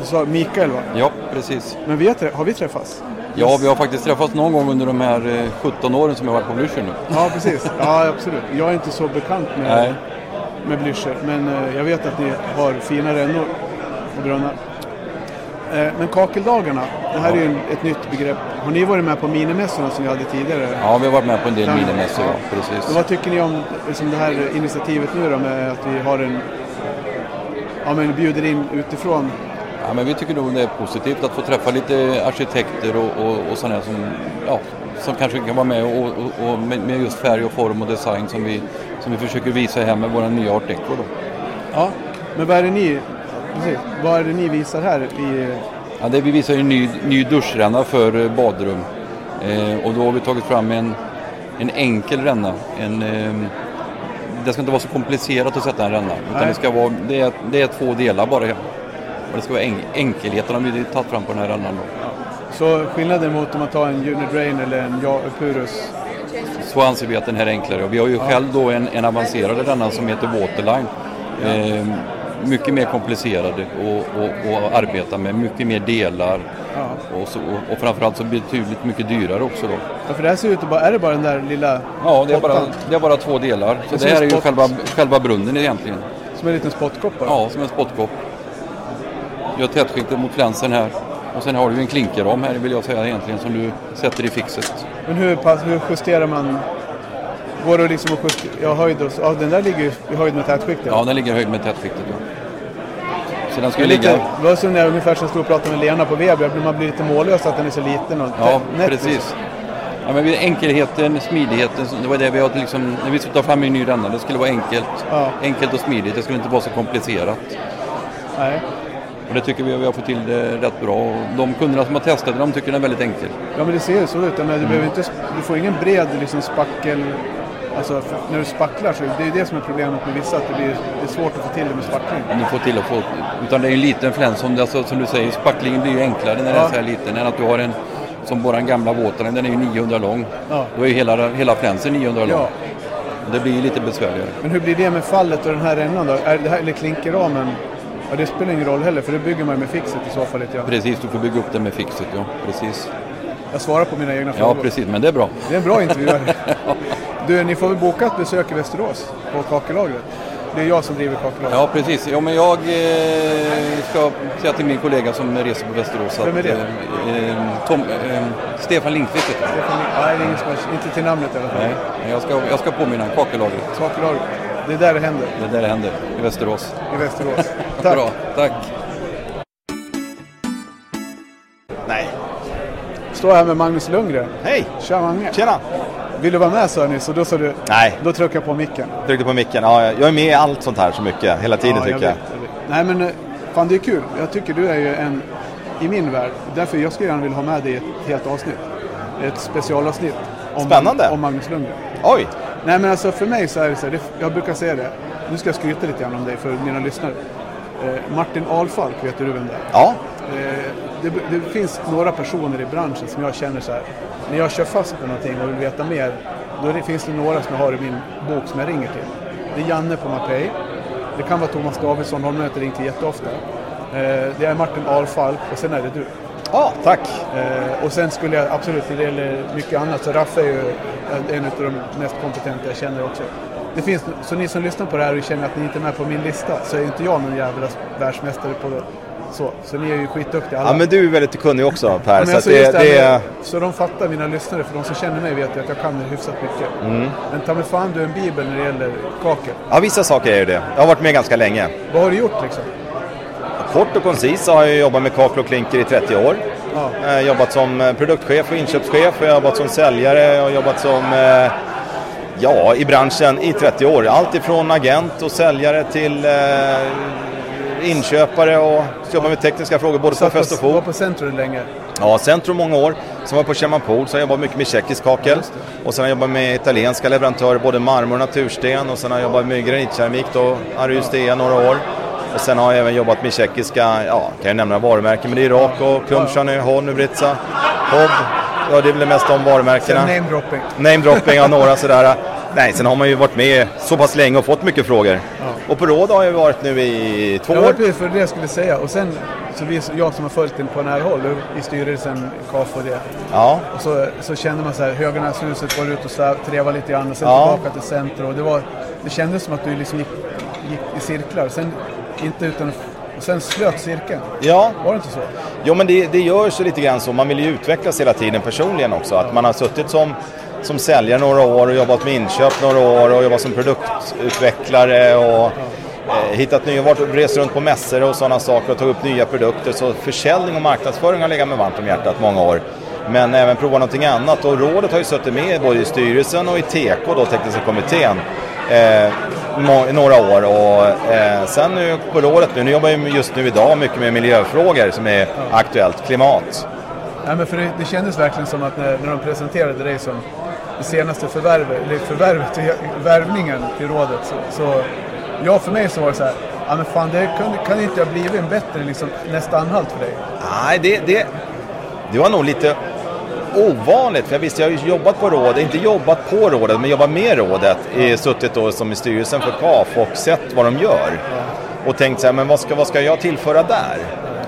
Speaker 2: Du sa Mikael va?
Speaker 8: Ja, precis.
Speaker 2: Men vi har, trä- har vi träffats?
Speaker 8: Ja, vi har faktiskt träffats någon gång under de här eh, 17 åren som jag har varit på Blücher nu.
Speaker 2: Ja, precis. Ja, absolut. Jag är inte så bekant med,
Speaker 8: Nej.
Speaker 2: med Blücher, men eh, jag vet att ni har fina rännor och brunnar. Eh, men kakeldagarna, det här är ju en- ett nytt begrepp. Har ni varit med på minimässorna som vi hade tidigare?
Speaker 8: Ja, vi har varit med på en del
Speaker 2: Ja.
Speaker 8: minimässor, ja,
Speaker 2: Men
Speaker 8: precis.
Speaker 2: vad tycker ni om liksom det här initiativet nu då med att vi har en... Ja men bjuder in utifrån.
Speaker 8: Ja, men vi tycker nog det är positivt att få träffa lite arkitekter och, och, och sådana som, ja, som kanske kan vara med och, och, och med, med just färg och form och design som vi, som vi försöker visa här med våra nya art deco. Då.
Speaker 2: Ja. Men vad är det ni... Precis, vad är det ni visar här i...
Speaker 8: Ja, det vi visar är en ny, ny duschränna för eh, badrum. Eh, och då har vi tagit fram en, en enkel ränna. En, ehm, det ska inte vara så komplicerat att sätta en ränna. Utan
Speaker 2: Nej.
Speaker 8: det, ska vara, det, är, det är två delar bara. ja. Och det ska vara en, enkelheten har vi tagit fram på den här rännan. Då.
Speaker 2: Så skillnaden mot om man tar en Junior Drain eller en ja, Purus.
Speaker 8: Så anser vi att den här är enklare. Och vi har ju själv då en, en avancerad ränna som heter Waterline. Ehm, mycket mer komplicerade och, och, och arbeta med, mycket mer delar. Och, så, och, och framförallt så blir det tydligt mycket dyrare också då.
Speaker 2: Ja, för det här ser ut att bara... Är det bara den där lilla...
Speaker 8: Ja, det är, bara,
Speaker 2: pottan
Speaker 8: det är bara två delar. Så
Speaker 2: Och
Speaker 8: det här är ju
Speaker 2: spott.
Speaker 8: själva, själva brunnen egentligen.
Speaker 2: Som en liten spottkopp bara?
Speaker 8: Ja, som en spottkopp. Gör tätskiktet mot flänsen här. Och sen har du ju en klinkerram här vill jag säga egentligen som du sätter i fixet.
Speaker 2: Men hur, pass, hur justerar man? Går det liksom att justera? Ja, höjd och så. Ja, den där ligger ju i höjd med tätskiktet.
Speaker 8: Ja, den ligger i höjd med tätskiktet. Ja. Så den ska
Speaker 2: Det
Speaker 8: ju
Speaker 2: är lite,
Speaker 8: ligga...
Speaker 2: det var som när jag ungefär som stod och pratade med Lena på Weber, att man blir lite mållös att den är så liten och
Speaker 8: Ja,
Speaker 2: nätt-
Speaker 8: precis. Ja, men vi- enkelheten, smidigheten, så det var det vi har liksom, när vi skulle ta fram en ny ränna, det skulle vara enkelt.
Speaker 2: Ja.
Speaker 8: Enkelt och smidigt, det skulle inte vara så komplicerat.
Speaker 2: Nej.
Speaker 8: Och det tycker vi att vi har fått till det rätt bra. Och de kunderna som har testat det, de tycker den är väldigt enkel.
Speaker 2: Ja, men det ser ju så ut. Men
Speaker 8: Mm.
Speaker 2: du, behöver inte, du får ingen bred liksom, spackel... Alltså, för- när du spacklar så det är ju det som är problemet med vissa, att det, blir, det är svårt att få till det med spackling.
Speaker 8: om du får till att få, utan det är ju en liten fläns som, alltså, som du säger, spacklingen blir ju enklare när den
Speaker 2: Ja.
Speaker 8: är så här liten än att du har en som våran gamla Waterline, den är ju 900 lång.
Speaker 2: Ja.
Speaker 8: Då är ju hela, hela flänsen 900 lång.
Speaker 2: Ja.
Speaker 8: Det blir ju lite besvärligare.
Speaker 2: Men hur blir det med fallet och den här rännan då? Är det här, eller klinkerramen? Ja, det spelar ingen roll heller, för det bygger man ju med fixet i så fall. lite grann.
Speaker 8: Precis, du får bygga upp den med fixet. Ja, precis.
Speaker 2: Jag svarar på mina egna
Speaker 8: Ja,
Speaker 2: frågor.
Speaker 8: precis, men det är bra.
Speaker 2: Det är en bra intervju. du, ni får väl boka ett besök i Västerås på kakelagret. Det är jag som driver kakelagret.
Speaker 8: Ja, precis. Ja, men jag eh, ska säga till min kollega som reser på Västerås att...
Speaker 2: Vem är det?
Speaker 8: Eh, eh, Tom, eh, Stefan Lindqvist heter han.
Speaker 2: Nej, det är ingen som har, inte till namnet i alla fall.
Speaker 8: Nej, men jag ska, jag ska påminna honom. Kakelagret.
Speaker 2: Kakelagret. Det är där det händer,
Speaker 8: Det är där det händer, i Västerås.
Speaker 2: i Västerås. Tack.
Speaker 8: Bra, tack.
Speaker 9: Nej.
Speaker 2: Står här med Magnus Lundgren.
Speaker 9: Hej!
Speaker 2: Tja Mange!
Speaker 9: Tjena!
Speaker 2: Vill du vara med sa jag nyss och då sa du...
Speaker 9: Nej.
Speaker 2: Då tryckte jag på micken.
Speaker 9: Tryckte på micken. Ja, jag är med i allt sånt här så mycket. Hela tiden
Speaker 2: Ja, jag
Speaker 9: tycker jag.
Speaker 2: vet, jag vet. Nej men, eh, fan det är kul. Jag tycker du är ju en, i min värld, därför jag skulle gärna vilja ha med dig i ett helt avsnitt. Ett specialavsnitt. Om,
Speaker 9: Spännande.
Speaker 2: Om Magnus Lundgren.
Speaker 9: Oj!
Speaker 2: Nej men alltså för mig så är det så här, det, jag brukar säga det. Nu ska jag skryta lite grann om dig för mina lyssnare. Eh, Martin Alfalk, vet du vem det är?
Speaker 9: Ja.
Speaker 2: Eh, det, det finns några personer i branschen som jag känner så här. När jag kör fast på någonting och vill veta mer. Då är det, finns det några som jag har i min bok som jag ringer till. Det är Janne på Mapei. Det kan vara Thomas Davidsson, honom har jag inte ringt till jätteofta. Eh, det är Martin Alfalk och sen är det du.
Speaker 9: Ja, tack.
Speaker 2: Eh, och sen skulle jag absolut, när det gäller mycket annat, så Raffe är ju eh, en av de mest kompetenta jag känner också. Det finns, så ni som lyssnar på det här och känner att ni inte är med på min lista, så är inte jag någon jävla världsmästare på det. Så, så ni är ju skitduktiga alla.
Speaker 9: Ja, men du är väldigt kunnig också
Speaker 2: Ja,
Speaker 9: Per.
Speaker 2: men
Speaker 9: Så att
Speaker 2: alltså
Speaker 9: det,
Speaker 2: just det här
Speaker 9: det
Speaker 2: med-
Speaker 9: är...
Speaker 2: så de fattar, mina lyssnare, för de som känner mig vet ju att jag kan det hyfsat mycket.
Speaker 9: Mm.
Speaker 2: Men ta mig fan du är en bibel när det gäller kakel.
Speaker 9: Ja, vissa saker är ju det. Jag har varit med ganska länge.
Speaker 2: Vad har du gjort liksom?
Speaker 9: Kort och koncis så har jag jobbat med kakel och klinker i 30 år.
Speaker 2: Ja.
Speaker 9: Jag har jobbat som eh, produktchef och inköpschef, och jag har jobbat som säljare, jag har jobbat som eh, Ja, i branschen i 30 år. Allt ifrån agent och säljare till eh, inköpare och så jobbar med tekniska frågor både på
Speaker 2: Satt
Speaker 9: fest och
Speaker 2: var
Speaker 9: fot.
Speaker 2: på Centrum länge.
Speaker 9: Ja, Centrum många år. Sen var jag på Kjellman Pool, så jag jobbat mycket med tjeckisk kakel. Och sen har jag jobbat med italienska leverantörer, både marmor och natursten. Och sen har jag jobbat med granitkeramik då, Arystea några år. Och sen har jag även jobbat med tjeckiska, ja, kan jag nämna varumärken, men det är Rako, Plumsjanu, Honubrica, Hob. Ja, det är väl mest de varumärkena.
Speaker 2: Namedropping.
Speaker 9: Namedropping av några sådär. Nej, sen har man ju varit med så pass länge och fått mycket frågor. Och på råd har jag varit nu i två
Speaker 2: Jag
Speaker 9: år.
Speaker 2: var precis för det jag skulle säga. Och sen, så vi, jag som har följt den på nära håll i styrelsen, KAF och det.
Speaker 9: Ja,
Speaker 2: Och så, så kände man så här, Höganäshuset var ute och så här, trevade lite grann och sen
Speaker 9: Ja.
Speaker 2: tillbaka till centrum. Och det, var, det kändes som att du liksom gick, gick i cirklar. Sen, inte utan, och sen slöt cirkeln.
Speaker 9: ja.
Speaker 2: Var det inte så?
Speaker 9: Jo, men det, det gör sig lite grann så. Man vill ju utvecklas hela tiden personligen också. Att man har suttit som, som säljare några år och jobbat med inköp några år och jobbat som produktutvecklare och eh, hittat nya, varit och rest runt på mässor och sådana saker och tagit upp nya produkter. Så försäljning och marknadsföring har legat mig varmt om hjärtat många år. Men även prova någonting annat och rådet har ju suttit med både i styrelsen och i TK, då, tekniska kommittén, eh, må- några år. Och, eh, sen nu på rådet nu, nu jobbar jag ju just nu idag mycket med miljöfrågor som är aktuellt, klimat.
Speaker 2: Nej, men för det, det kändes verkligen som att när, när de presenterade dig som det senaste förvärvet, eller förvärvet, värvningen till rådet. Så, så ja, för mig så var det så här, ja men fan det kan, kan inte jag blivit en bättre liksom, nästa anhalt för dig.
Speaker 9: Nej, det, det, det var nog lite ovanligt. För jag visste, jag har ju jobbat på rådet, inte jobbat på rådet, men jobbat med rådet. I, suttit då som i styrelsen för KAF och sett vad de gör. Och tänkt så här, men vad ska, vad ska jag tillföra där?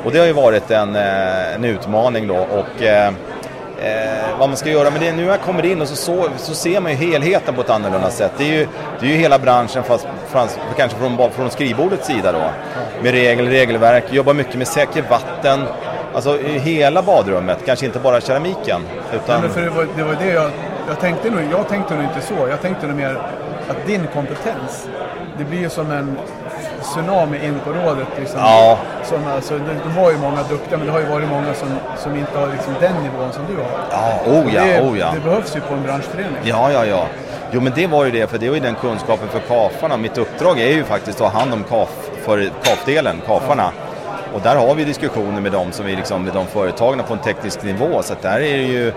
Speaker 9: Och det har ju varit en, eh, en utmaning då. Och, eh, eh, vad man ska göra. Men det, är nu när jag kommer in och så, så, så ser man ju helheten på ett annorlunda sätt. Det är ju, det är ju hela branschen, fast, fast kanske från, bara från skrivbordets sida då. Med regler, regelverk, jobbar mycket med säker vatten. Alltså i hela badrummet, kanske inte bara keramiken.
Speaker 2: Nej,
Speaker 9: Utan,
Speaker 2: men för det var det, var det jag, jag tänkte nog, jag tänkte nog inte så. Jag tänkte nog mer att din kompetens, det blir ju som en tsunami in på rådet. Liksom.
Speaker 9: Ja.
Speaker 2: Som, alltså, de, de har ju många duktiga, men det har ju varit många som, som inte har liksom, den nivån som du har.
Speaker 9: ja, oh ja,
Speaker 2: det,
Speaker 9: oh ja.
Speaker 2: det behövs ju på en branschförening.
Speaker 9: Ja, ja, ja. Jo, men det var ju det, för det var ju den kunskapen för kafarna. Mitt uppdrag är ju faktiskt att ha hand om kaf, för kafdelen, kafarna. Och där har vi diskussioner med dem, som vi liksom, med de företagen på en teknisk nivå. Så att där är det ju,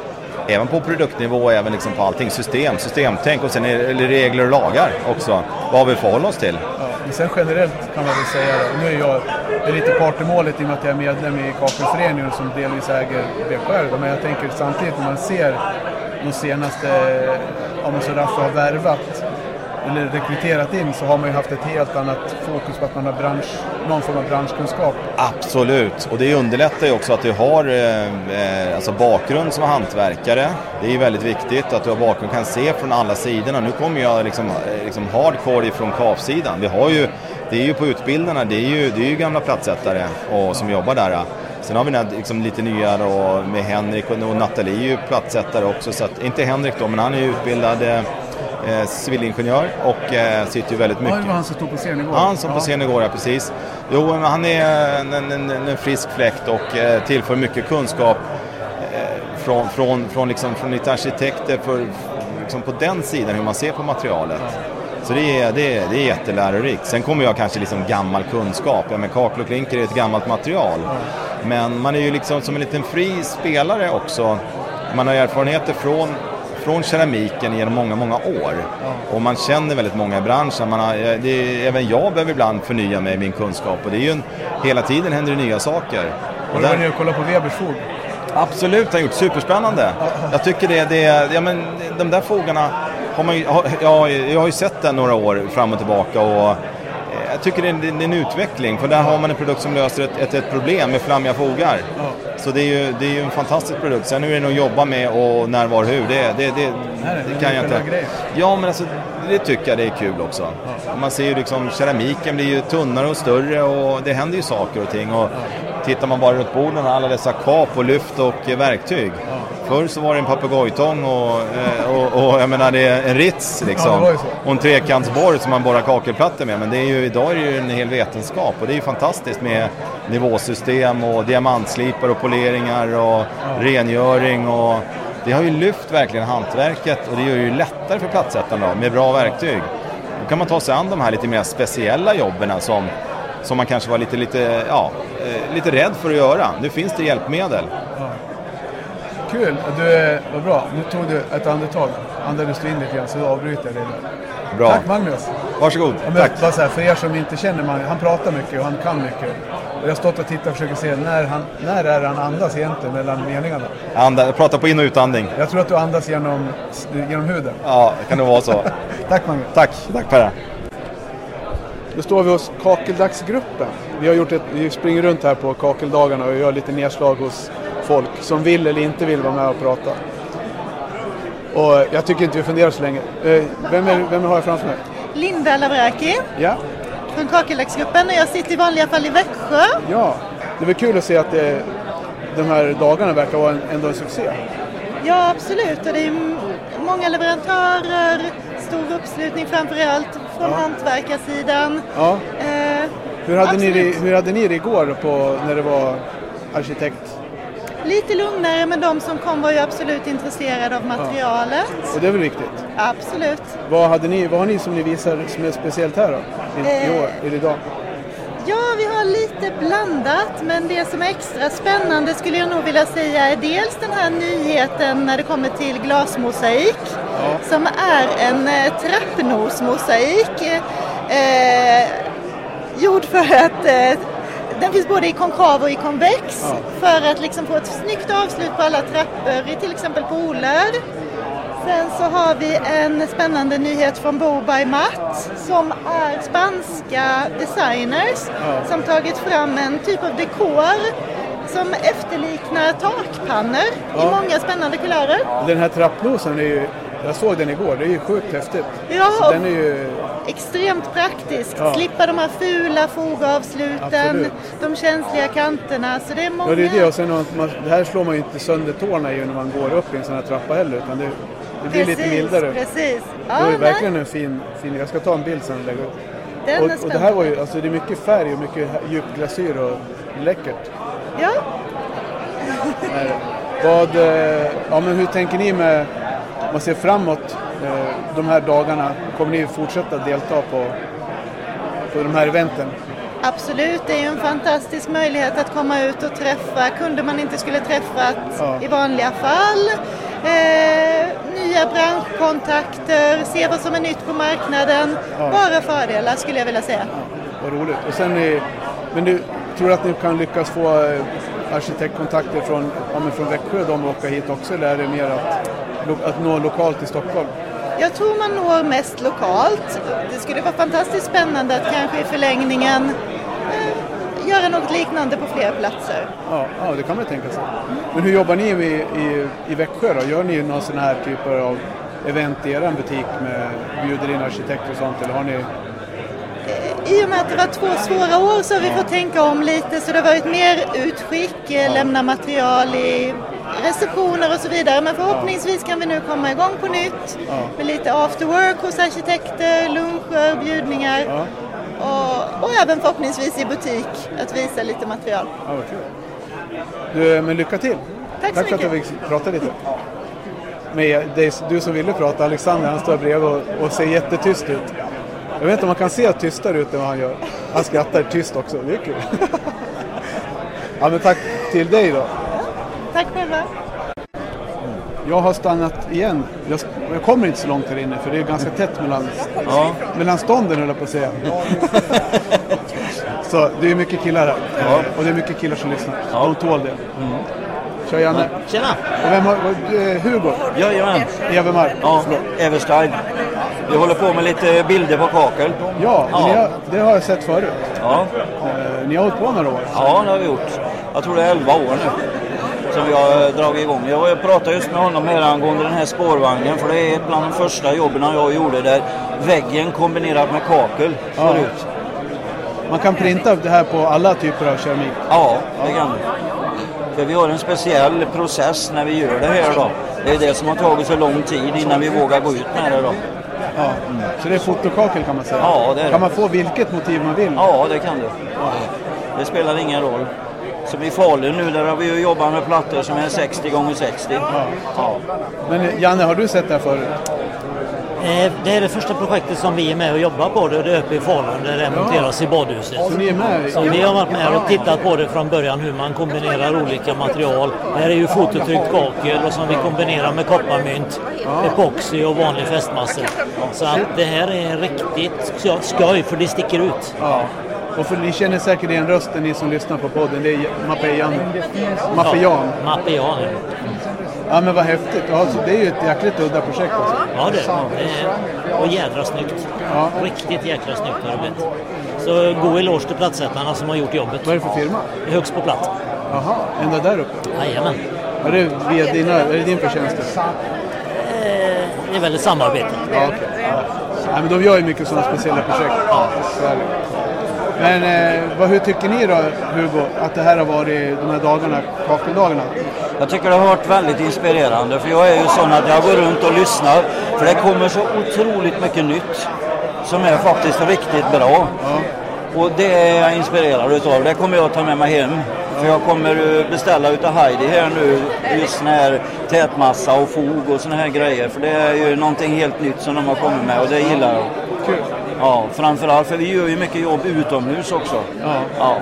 Speaker 9: även på produktnivå, även liksom på allting, system, systemtänk och sen är det eller regler och lagar också. Vad vi förhåller oss till.
Speaker 2: Ja, men sen generellt kan man väl säga det. Nu är jag det är lite part i målet i och med att jag är medlem i Kakelföreningen som delvis äger BKR. då. Men jag tänker samtidigt när man ser de senaste, om man så Raffa har värvat eller rekryterat in så har man ju haft ett helt annat fokus på att man har bransch, någon form av branschkunskap.
Speaker 9: Absolut, och det underlättar ju också att du har eh, eh, alltså bakgrund som hantverkare. Det är ju väldigt viktigt att du har bakgrund, kan se från alla sidorna. Nu kommer jag liksom, eh, liksom hardcore ifrån kavsidan. Vi har ju, det är ju på utbildarna, det är ju, det är ju gamla platsättare och, som jobbar där. eh. Sen har vi den här, liksom, lite nyare och med Henrik och, och Nathalie är ju platsättare också. Så att, inte Henrik då, men han är ju utbildad eh, eh, civilingenjör och eh, sitter ju väldigt
Speaker 2: Ja,
Speaker 9: mycket.
Speaker 2: det var han som stod på scen igår.
Speaker 9: Ja, han som på
Speaker 2: Ja.
Speaker 9: scen igår, ja precis. Jo, men han är en, en, en, en frisk fläkt och eh, tillför mycket kunskap eh, från, från, från, liksom, från lite arkitekter för, liksom på den sidan, hur man ser på materialet. Så det är, det, är, det är jättelärorikt. Sen kommer jag kanske liksom gammal kunskap. Ja, men kakel och klinker är ett gammalt material. Men man är ju liksom som en liten fri spelare också. Man har erfarenheter från från keramiken genom många, många år. Och man känner väldigt många i branschen. Man har, eh, det är, även jag behöver ibland förnya mig i min kunskap och det är ju en, hela tiden händer det nya saker.
Speaker 2: Har du
Speaker 9: Och
Speaker 2: varit
Speaker 9: där,
Speaker 2: nere och kollat på Webers fog?
Speaker 9: absolut, har jag gjort superspännande. Jag tycker det, det är- ja men de där fogarna har man ju, har, jag, jag har ju sett den några år fram och tillbaka och eh, jag tycker det är, en- det är en utveckling för där har man en produkt som löser ett, ett, ett problem med flammiga fogar. Så det är, ju, det är ju en fantastisk produkt. Sen hur den att jobba med och när, var, hur, det, det, det,
Speaker 2: nej, men
Speaker 9: det kan jag
Speaker 2: själva
Speaker 9: inte.
Speaker 2: grejen.
Speaker 9: Ja, men alltså, det tycker jag det är kul också. Man ser ju liksom, keramiken blir ju tunnare och större och det händer ju saker och ting. Och tittar man bara runt borden, alla dessa kap och lyft och eh, verktyg. Förr så var det en papegojtång och, eh, och, och jag menar det är en rits
Speaker 2: Ja, det var
Speaker 9: liksom.
Speaker 2: ju så.
Speaker 9: Och en trekantsborr som man borrar kakelplattor med. Men det är ju, idag är det ju en hel vetenskap och det är ju fantastiskt med nivåsystem och diamantslipar och poleringar och rengöring och Det har ju lyft verkligen hantverket och det gör det ju lättare för plattsättarna då, med bra verktyg. Då kan man ta sig an de här lite mer speciella jobben som, som man kanske var lite, lite, ja, eh, lite rädd för att göra. Nu finns det hjälpmedel.
Speaker 2: Kul! Du, eh, vad bra. Nu tog du ett andetag. Andades du in lite grann så avbryter jag dig där.
Speaker 9: Bra.
Speaker 2: Tack Magnus!
Speaker 9: Varsågod.
Speaker 2: Ja, men
Speaker 9: Tack.
Speaker 2: Bara så här, för er som inte känner Magnus, han pratar mycket och han kan mycket. Och jag har stått och tittat och försöker se när, han, när är han andas egentligen mellan meningarna.
Speaker 9: Anda, jag pratar på in och utandning.
Speaker 2: Jag tror att du andas genom, genom huden.
Speaker 9: Ja, det kan nog vara så.
Speaker 2: Tack Magnus!
Speaker 9: Tack, tack Perra.
Speaker 2: Nu står vi hos Kakeldagsgruppen. Vi, har gjort ett, vi springer runt här på Kakeldagarna och gör lite nedslag hos folk som vill eller inte vill vara med och prata. Och jag tycker inte vi funderar så länge. Eh, Vem, är, vem har jag framför mig?
Speaker 10: Linda Lavraki
Speaker 2: Ja,
Speaker 10: från Kakeldagsgruppen och jag sitter i vanliga fall i Växjö.
Speaker 2: ja. det var kul att se att det, de här dagarna verkar vara en, ändå en succé.
Speaker 10: Ja, absolut. Och det är m- många leverantörer, stor uppslutning framför allt från hantverkarsidan.
Speaker 2: Ja.
Speaker 10: Eh,
Speaker 2: Hur, hade ni,
Speaker 10: absolut.
Speaker 2: det- hur hade ni det igår på, när det var arkitekt?
Speaker 10: Lite lugnare, men de som kom var ju absolut intresserade av materialet.
Speaker 2: Och det är väl viktigt?
Speaker 10: Absolut.
Speaker 2: Vad, hade ni, vad har ni som ni visar som är speciellt här då? I, i
Speaker 10: Eh.
Speaker 2: år, eller idag?
Speaker 10: Ja, vi har lite blandat, men det som är extra spännande skulle jag nog vilja säga är dels den här nyheten när det kommer till glasmosaik, som är en eh, trappnosmosaik, eh, eh, gjord för att eh, den finns både i konkav och i konvex, för att liksom få ett snyggt avslut på alla trappor, i till exempel pooler. Sen så har vi en spännande nyhet från Bo by Matt som är spanska designers som tagit fram en typ av dekor som efterliknar takpannor i många spännande kulörer.
Speaker 2: Den här trappnosen är ju, jag såg den igår, det är ju sjukt häftigt.
Speaker 10: Ja.
Speaker 2: Så den är ju,
Speaker 10: Extremt praktiskt,
Speaker 2: Ja.
Speaker 10: slippa de här fula fogavsluten,
Speaker 2: Absolut.
Speaker 10: de känsliga kanterna. Så det är många...
Speaker 2: ja det är det och sen har man, det här slår man ju inte sönder tårna i när man går upp i en sån här trappa heller utan det, det blir lite mildare.
Speaker 10: Precis.
Speaker 2: det var
Speaker 10: Ja,
Speaker 2: ju verkligen
Speaker 10: nej,
Speaker 2: en fin, fin, jag ska ta en bild sen och lägga upp.
Speaker 10: den är
Speaker 2: Och, och det här
Speaker 10: spännande.
Speaker 2: var ju, alltså det är mycket färg och mycket djup glasyr och läckert.
Speaker 10: Ja,
Speaker 2: Vad, eh, ja men hur tänker ni med, om man ser framåt eh, de här dagarna, kommer ni fortsätta delta på, på de här eventen?
Speaker 10: Absolut, det är ju en fantastisk möjlighet att komma ut och träffa kunder man inte skulle träffat
Speaker 2: Ja.
Speaker 10: i vanliga fall. Eh, nya branschkontakter, se vad som är nytt på marknaden. Bara fördelar skulle jag vilja säga.
Speaker 2: Vad roligt. Och sen är, men du, tror du att ni kan lyckas få eh, arkitektkontakter från, ja, men från Växjö de åka hit också eller är det mer att, lo- att nå lokalt i Stockholm?
Speaker 10: Jag tror man når mest lokalt. Det skulle vara fantastiskt spännande att kanske i förlängningen eh, göra något liknande på fler platser.
Speaker 2: Ja, ja, det kan man ju tänka sig. Men hur jobbar ni i, i, i Växjö då? Gör ni någon sån här typ av event i er butik med bjuder in arkitekter och sånt eller har ni
Speaker 10: I och med att det var två svåra år så har vi fått tänka om lite så det har varit mer utskick, eh, lämna material i receptioner och så vidare. Men förhoppningsvis kan vi nu komma igång på nytt med lite after work hos arkitekter, luncher, bjudningar och, och även förhoppningsvis i butik att visa lite material.
Speaker 2: Ja, vad kul. Du, eh, men lycka till.
Speaker 10: Tack så
Speaker 2: för att du
Speaker 10: mycket.
Speaker 2: fick prata lite. Men dig, du som ville prata, Alexander, han står bredvid och, och ser jättetyst ut. Jag vet inte om man kan se tystare ut än vad han gör. Han skrattar tyst också, det är kul. ja, men tack till dig då.
Speaker 10: Tack själva!
Speaker 2: Jag har stannat igen. Jag, jag kommer inte så långt här inne för det är ganska tätt mellan, mellan stånden höll jag på att säga. så det är mycket killar här. Och det är mycket killar som lyssnar. De tål det. Kör Janne.
Speaker 11: Tjena!
Speaker 2: Och vem har, vad- eh, Hugo
Speaker 11: Jajamän!
Speaker 2: Evermark.
Speaker 11: Ja, Everstein. Vi håller på med lite bilder på kakel.
Speaker 2: Ja,
Speaker 11: Ja.
Speaker 2: Ni har, det har jag sett förut.
Speaker 11: Ja,
Speaker 2: Eh, ni har hållit på några år.
Speaker 11: ja det har vi gjort. Jag tror det är 11 år nu som vi har dragit igång. Jag var- Jag pratade just med honom här angående den här spårvagnen för det är ett bland de första jobben jag gjorde där väggen kombinerat med kakel
Speaker 2: Ja.
Speaker 11: slår ut.
Speaker 2: Man kan printa det här på alla typer av keramik.
Speaker 11: Ja, det kan vi. För vi har en speciell process när vi gör det här då. Det är det som har tagit så lång tid innan vi vågar gå ut med det då.
Speaker 2: Ja. Så det är fotokakel kan man säga.
Speaker 11: Ja, det är det.
Speaker 2: Kan man få vilket motiv man vill?
Speaker 11: Ja, det kan du. Det spelar ingen roll. Som i Falun nu, där har vi ju jobbat med plattor som är 60 gånger 60.
Speaker 2: Men Janne, har du sett det här förut?
Speaker 12: Eh, Det är det första projektet som vi är med och jobbar på. Det är det uppe i Falun där det
Speaker 2: Ja.
Speaker 12: monteras i badhuset.
Speaker 2: Så ni är med?
Speaker 12: Så vi har varit med och tittat på det från början hur man kombinerar olika material. Det här är ju fototryckt kakel och som vi kombinerar med kopparmynt, epoxy och vanlig fästmassa. Så att det här är riktigt skoj- skoj för det sticker ut.
Speaker 2: Ja. Och för ni känner säkert igen rösten, ni som lyssnar på podden. Det är Mappejan. Mappejan.
Speaker 12: Ja, Mappejan.
Speaker 2: Ja men vad häftigt. Ja, så det är ju ett jäkligt udda projekt alltså.
Speaker 12: Ja du, det är- och jädra snyggt. Riktigt jäkla snyggt har det blivit. Så god eloge till plattsättarna som har gjort jobbet. Vad är det för
Speaker 2: firma?
Speaker 12: Högst på platt.
Speaker 2: Jaha, ända där uppe?
Speaker 12: Jajamän. Eh.
Speaker 2: Är det, via dina, är det din förtjänst? det?
Speaker 12: Det är väl ett samarbete.
Speaker 2: Ja, okej. ja. Nej, men de gör ju mycket sådana speciella projekt. Så är det. Men eh, vad, hur tycker ni då, Hugo, att det här har varit de här dagarna, kakeldagarna?
Speaker 11: Jag tycker det har varit väldigt inspirerande för jag är ju sån att jag går runt och lyssnar för det kommer så otroligt mycket nytt som är faktiskt riktigt bra. Och det är jag inspirerad utav. Det kommer jag ta med mig hem. För jag kommer eh, beställa utav Heidi här nu just sån här tätmassa och fog och såna här grejer. För det är ju någonting helt nytt som de har kommit med och det gillar jag.
Speaker 2: Kul.
Speaker 11: Ja, framförallt för vi gör ju mycket jobb utomhus också.
Speaker 2: Ja.
Speaker 11: Ja.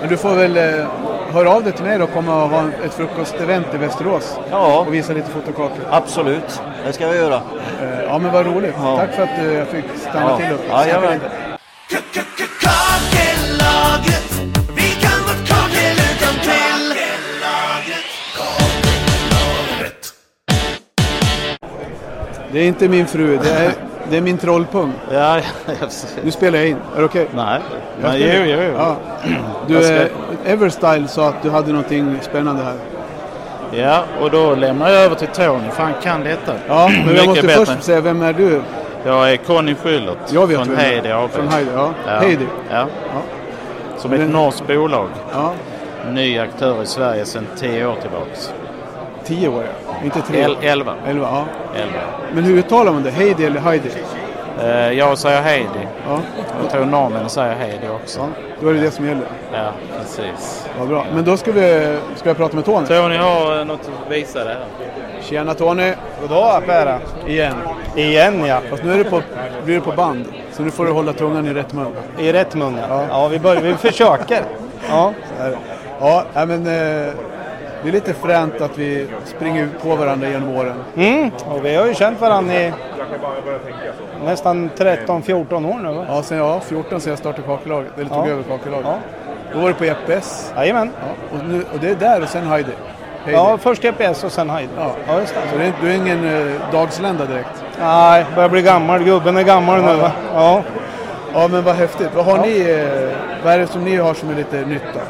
Speaker 2: Men du får väl eh, höra av dig till mig då och komma och ha en- ett frukostevent i Västerås
Speaker 11: Ja.
Speaker 2: och visa lite fotokakor.
Speaker 11: Absolut, det ska vi göra.
Speaker 2: Ja men vad roligt. Tack för att eh, jag fick stanna
Speaker 11: Ja.
Speaker 2: till och
Speaker 11: Ja,
Speaker 2: snacka
Speaker 11: jajamän.
Speaker 2: lite.
Speaker 5: Kakellaget, vi kan vårt kakel utan till.
Speaker 2: Det är inte min fru, det är, det är min trollpung.
Speaker 13: Ja,
Speaker 2: Nu spelar jag in, är det okej?
Speaker 13: Nej,
Speaker 2: Jag
Speaker 13: Nej,
Speaker 2: spelar.
Speaker 13: jo, jo, jo.
Speaker 2: Ja. Du,
Speaker 13: Jag ska-
Speaker 2: eh, Everstyle sa att du hade någonting spännande här.
Speaker 13: Ja, och då lämnar jag över till Tony för han kan detta.
Speaker 2: Ja, men jag
Speaker 13: Mycket
Speaker 2: måste
Speaker 13: bättre.
Speaker 2: först säga, vem är du?
Speaker 13: Jag är Conny Schyllert
Speaker 2: Jag vet
Speaker 13: från
Speaker 2: vem det är.
Speaker 13: Heidi AB.
Speaker 2: Från Heidi, ja. Heidi.
Speaker 13: Ja. Som ett norskt bolag. Ny aktör i Sverige sedan 10 år tillbaks.
Speaker 2: Tio år, ja. Inte tre.
Speaker 13: El- elva.
Speaker 2: Elva, ja.
Speaker 13: Elva.
Speaker 2: Men hur uttalar man det? Heidi eller Heidi?
Speaker 13: Eh, jag säger Heidi.
Speaker 2: Ja.
Speaker 13: Jag tror norrmännen säger Heidi också.
Speaker 2: Då är det det som gäller.
Speaker 13: Ja, precis.
Speaker 2: Vad bra. Men då ska vi, ska jag prata med Tony.
Speaker 13: Tony har eh, något att visa dig här.
Speaker 2: Tjena Tony!
Speaker 13: Goddag Pera!
Speaker 2: Igen.
Speaker 13: Igen ja.
Speaker 2: Fast nu är du på, blir du på band. Så nu får du hålla tungan i rätt mun.
Speaker 13: I rätt mun ja. Ja, vi, börjar, vi försöker.
Speaker 2: Ja, så är det. ja nej, men eh, det är lite fränt att vi springer på varandra genom åren.
Speaker 13: Mm, och vi har ju känt varandra i nästan 13-14 år nu va?
Speaker 2: Ja, sen, ja 14 sen jag startade kakelaget, eller tog
Speaker 13: Ja.
Speaker 2: över kakelaget.
Speaker 13: Ja.
Speaker 2: Då var det på EPS.
Speaker 13: Jajamän.
Speaker 2: Ja, och, nu, och det är där och sen Heidi. Heidi.
Speaker 13: Ja, först GPS och sen Heidi. Ja. just det.
Speaker 2: Så det, är- du är ingen eh, dagslända direkt?
Speaker 13: Nej, börjar bli gammal. Gubben är gammal nu va? Ja.
Speaker 2: Ja, men vad häftigt. Vad, har ni, eh, vad är det som ni har som är lite nytt då?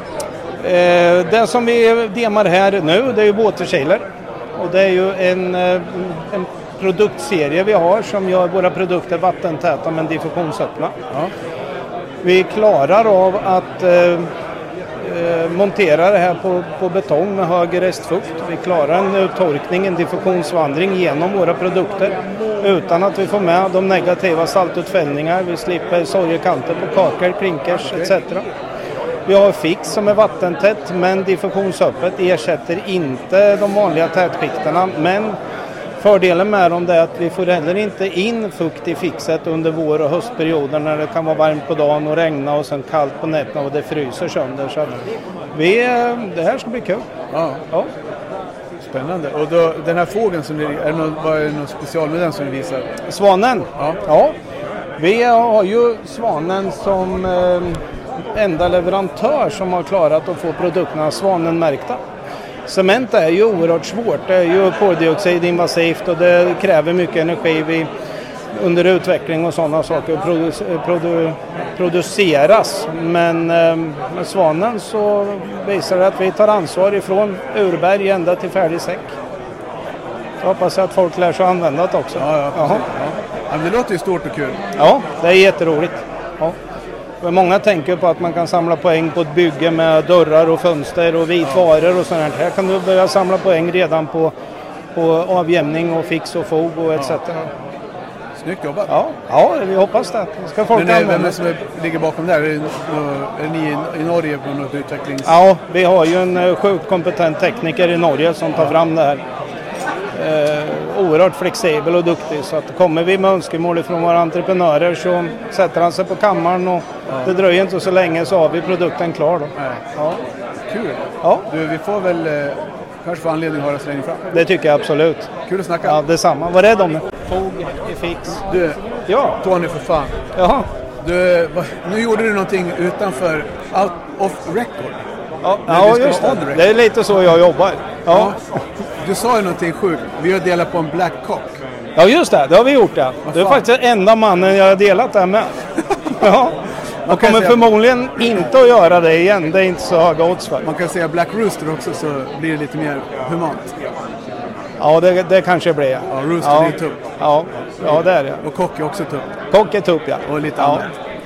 Speaker 13: Eh, det som vi demar här nu det är ju båtkilar. Och det är ju en, eh, en produktserie vi har som gör våra produkter vattentäta men diffusionsöppna. Vi klarar av att eh, eh, montera det här på, på betong med hög restfukt. Vi klarar en eh, torkning, en diffusionsvandring genom våra produkter utan att vi får med de negativa saltutfällningar. Vi slipper sorgekanter på kakel, klinkers etc. Vi har fix som är vattentätt men diffusionsöppet ersätter inte de vanliga tätskikterna. Men fördelen med dem det är att vi får heller inte in fukt i fixet under vår och höstperioden när det kan vara varmt på dagen och regna och sen kallt på nätterna och det fryser sönder. Så att vi, eh, det här ska bli kul.
Speaker 2: Ja. Spännande. Och då, den här fågeln, som ni, är det någon, vad är det någon special med den som ni visar?
Speaker 13: Svanen? Ja. Vi har ju Svanen som eh, enda leverantör som har klarat att få produkterna Svanen-märkta. Cement är ju oerhört svårt. Det är ju koldioxid invasivt och det kräver mycket energi vid, under utveckling och sådana saker att produce, produ, produceras. Men eh, med Svanen så visar det att vi tar ansvar ifrån urberg ända till färdig säck. Jag hoppas att folk lär sig att använda det också. Jaha.
Speaker 2: Ja, men det låter ju stort och kul.
Speaker 13: Ja, det är jätteroligt. Ja. Men Många tänker på att man kan samla poäng på ett bygge med dörrar och fönster och vitvaror och sånt här. Här kan du börja samla poäng redan på, på avjämning och fix och fog och etc.
Speaker 2: Snyggt jobbat.
Speaker 13: Ja, ja vi hoppas det. Ska folk
Speaker 2: Men eh, vem är
Speaker 13: använda
Speaker 2: det som är, ligger bakom där? Är, det nå- är ni i, i Norge på något utvecklings...
Speaker 13: Ja, vi har ju en eh, sjukt kompetent tekniker i Norge som tar fram det här. Eh, oerhört flexibel och duktig så att kommer vi med önskemål från våra entreprenörer så sätter han sig på kammaren och det dröjer inte så länge så har vi produkten klar då. Ja.
Speaker 2: Kul!
Speaker 13: Ja.
Speaker 2: Du, vi får väl eh, kanske få anledning att höras längre fram.
Speaker 13: Det tycker jag absolut.
Speaker 2: Kul att snacka!
Speaker 13: Ja, detsamma. Var rädd om det.
Speaker 2: Fog
Speaker 13: är fix.
Speaker 2: Du,
Speaker 13: ja.
Speaker 2: Tony för fan.
Speaker 13: Jaha.
Speaker 2: Du, va- nu gjorde du någonting utanför out of record.
Speaker 13: Ja,
Speaker 2: Men
Speaker 13: ja,
Speaker 2: vi ska
Speaker 13: just
Speaker 2: vara
Speaker 13: det.
Speaker 2: on record.
Speaker 13: Det är lite så jag jobbar. Ja,
Speaker 2: Du sa ju någonting sjukt. Vi har delat på en Black Cock.
Speaker 13: ja just det. Det har vi gjort det. Du är faktiskt den enda mannen jag har delat det här med. Ja.
Speaker 2: Man
Speaker 13: Jag
Speaker 2: kan
Speaker 13: kommer
Speaker 2: säga-
Speaker 13: förmodligen inte att göra det igen. Det är inte så höga odds för.
Speaker 2: Man kan säga Black Rooster också så blir det lite mer humant.
Speaker 13: Ja, det, det kanske blir jag.
Speaker 2: Ja, Rooster
Speaker 13: ja.
Speaker 2: är ju tupp.
Speaker 13: Ja. ja, det är det.
Speaker 2: Och Kock är också tupp.
Speaker 13: Kock är tupp, ja.
Speaker 2: Och lite
Speaker 13: ja.
Speaker 2: annat.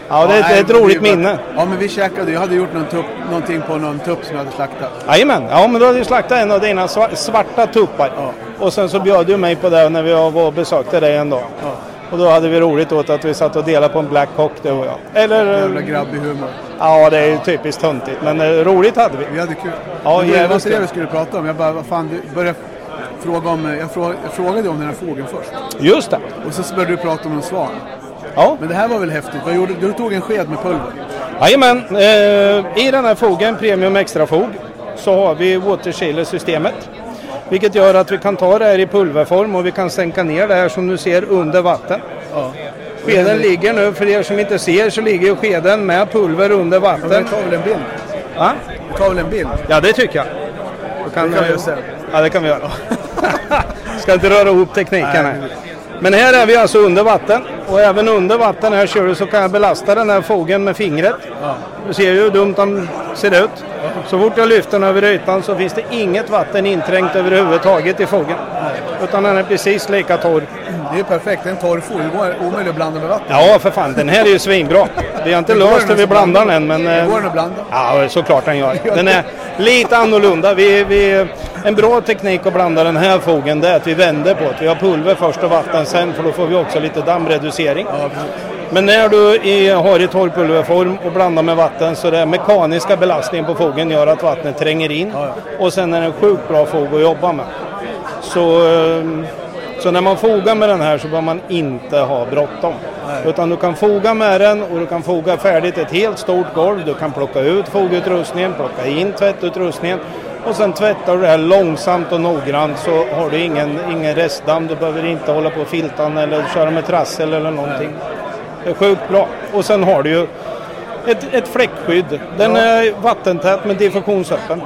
Speaker 13: Ja, det är ett-
Speaker 2: nej,
Speaker 13: ett
Speaker 2: men
Speaker 13: roligt
Speaker 2: vi var-
Speaker 13: minne.
Speaker 2: Ja, men vi käkade. Jag hade gjort någon tupp, någonting på någon tupp som jag hade slaktat.
Speaker 13: Jajamän, ja men då hade du slaktat en av dina sva- svarta tuppar. Och sen så bjöd du mig på det när vi var och besökte dig en dag. Och då hade vi roligt åt att vi satt och delade på en Black Cock du och jag. Eller... eh,
Speaker 2: Jävla grabbig humor.
Speaker 13: Ja, det är ju typiskt töntigt. Men eh, roligt hade vi.
Speaker 2: Vi hade kul.
Speaker 13: Ja,
Speaker 2: Men du, det var
Speaker 13: jävligt
Speaker 2: inte det vi
Speaker 13: kul.
Speaker 2: skulle prata om. Jag bara, vad fan, du började fråga om... Jag frågade, jag frågade ju om den här fågeln först.
Speaker 13: Just det.
Speaker 2: Och så började du prata om en svan.
Speaker 13: Ja.
Speaker 2: Men det här var väl häftigt? Vad gjorde du? Du tog en sked med pulver.
Speaker 13: Jajamän, eh, i den här fogen, Premium Extra fog, så har vi waterchiller-systemet. Vilket gör att vi kan ta det här i pulverform och vi kan sänka ner det här som du ser under vatten.
Speaker 2: Ja.
Speaker 13: Skeden ligger nu, för er som inte ser så ligger ju skeden med pulver under vatten.
Speaker 2: Men vi tar väl en bild?
Speaker 13: Va?
Speaker 2: Vi tar väl en bild?
Speaker 13: Ja, det tycker jag. Då
Speaker 2: Det kan vi göra sen.
Speaker 13: Ja, det kan vi göra. Ska inte röra ihop tekniken här. Men här är vi alltså under vatten och även under vatten här kör du så kan jag belasta den här fogen med fingret. Du ser ju hur dumt de ser ut. Så fort jag lyfter den över ytan så finns det inget vatten inträngt överhuvudtaget i fogen. Utan den är precis lika torr.
Speaker 2: Det är perfekt. En torr fågel. Det går omöjligt att blanda med vatten.
Speaker 13: Ja, för fan. Den här är ju svinbra. Vi har inte
Speaker 2: Det går
Speaker 13: löst hur
Speaker 2: den
Speaker 13: vi
Speaker 2: att
Speaker 13: blandar
Speaker 2: blanda.
Speaker 13: den än, men...
Speaker 2: Det går
Speaker 13: eh,
Speaker 2: den att blanda.
Speaker 13: Ja, såklart den gör. Den är lite annorlunda. Vi, vi, en bra teknik att blanda den här fogen det är att vi vänder på det. Vi har pulver först och vatten sen för då får vi också lite dammreducering. Men när du i, har i torrpulverform och blandar med vatten så den mekaniska belastningen på fogen gör att vattnet tränger in. Och sen är den en sjukt bra fog att jobba med. Så, eh, så när man fogar med den här så bör man inte ha bråttom.
Speaker 2: Nej.
Speaker 13: Utan du kan foga med den och du kan foga färdigt ett helt stort golv. Du kan plocka ut fogutrustningen, plocka in tvättutrustningen och sen tvättar du det här långsamt och noggrant så har du ingen, ingen restdamm. Du behöver inte hålla på och filtan eller köra med trassel eller någonting. Det är sjukt bra. Och sen har du ju ett, ett fläckskydd. Den
Speaker 2: Ja.
Speaker 13: är vattentät men diffusionsöppen.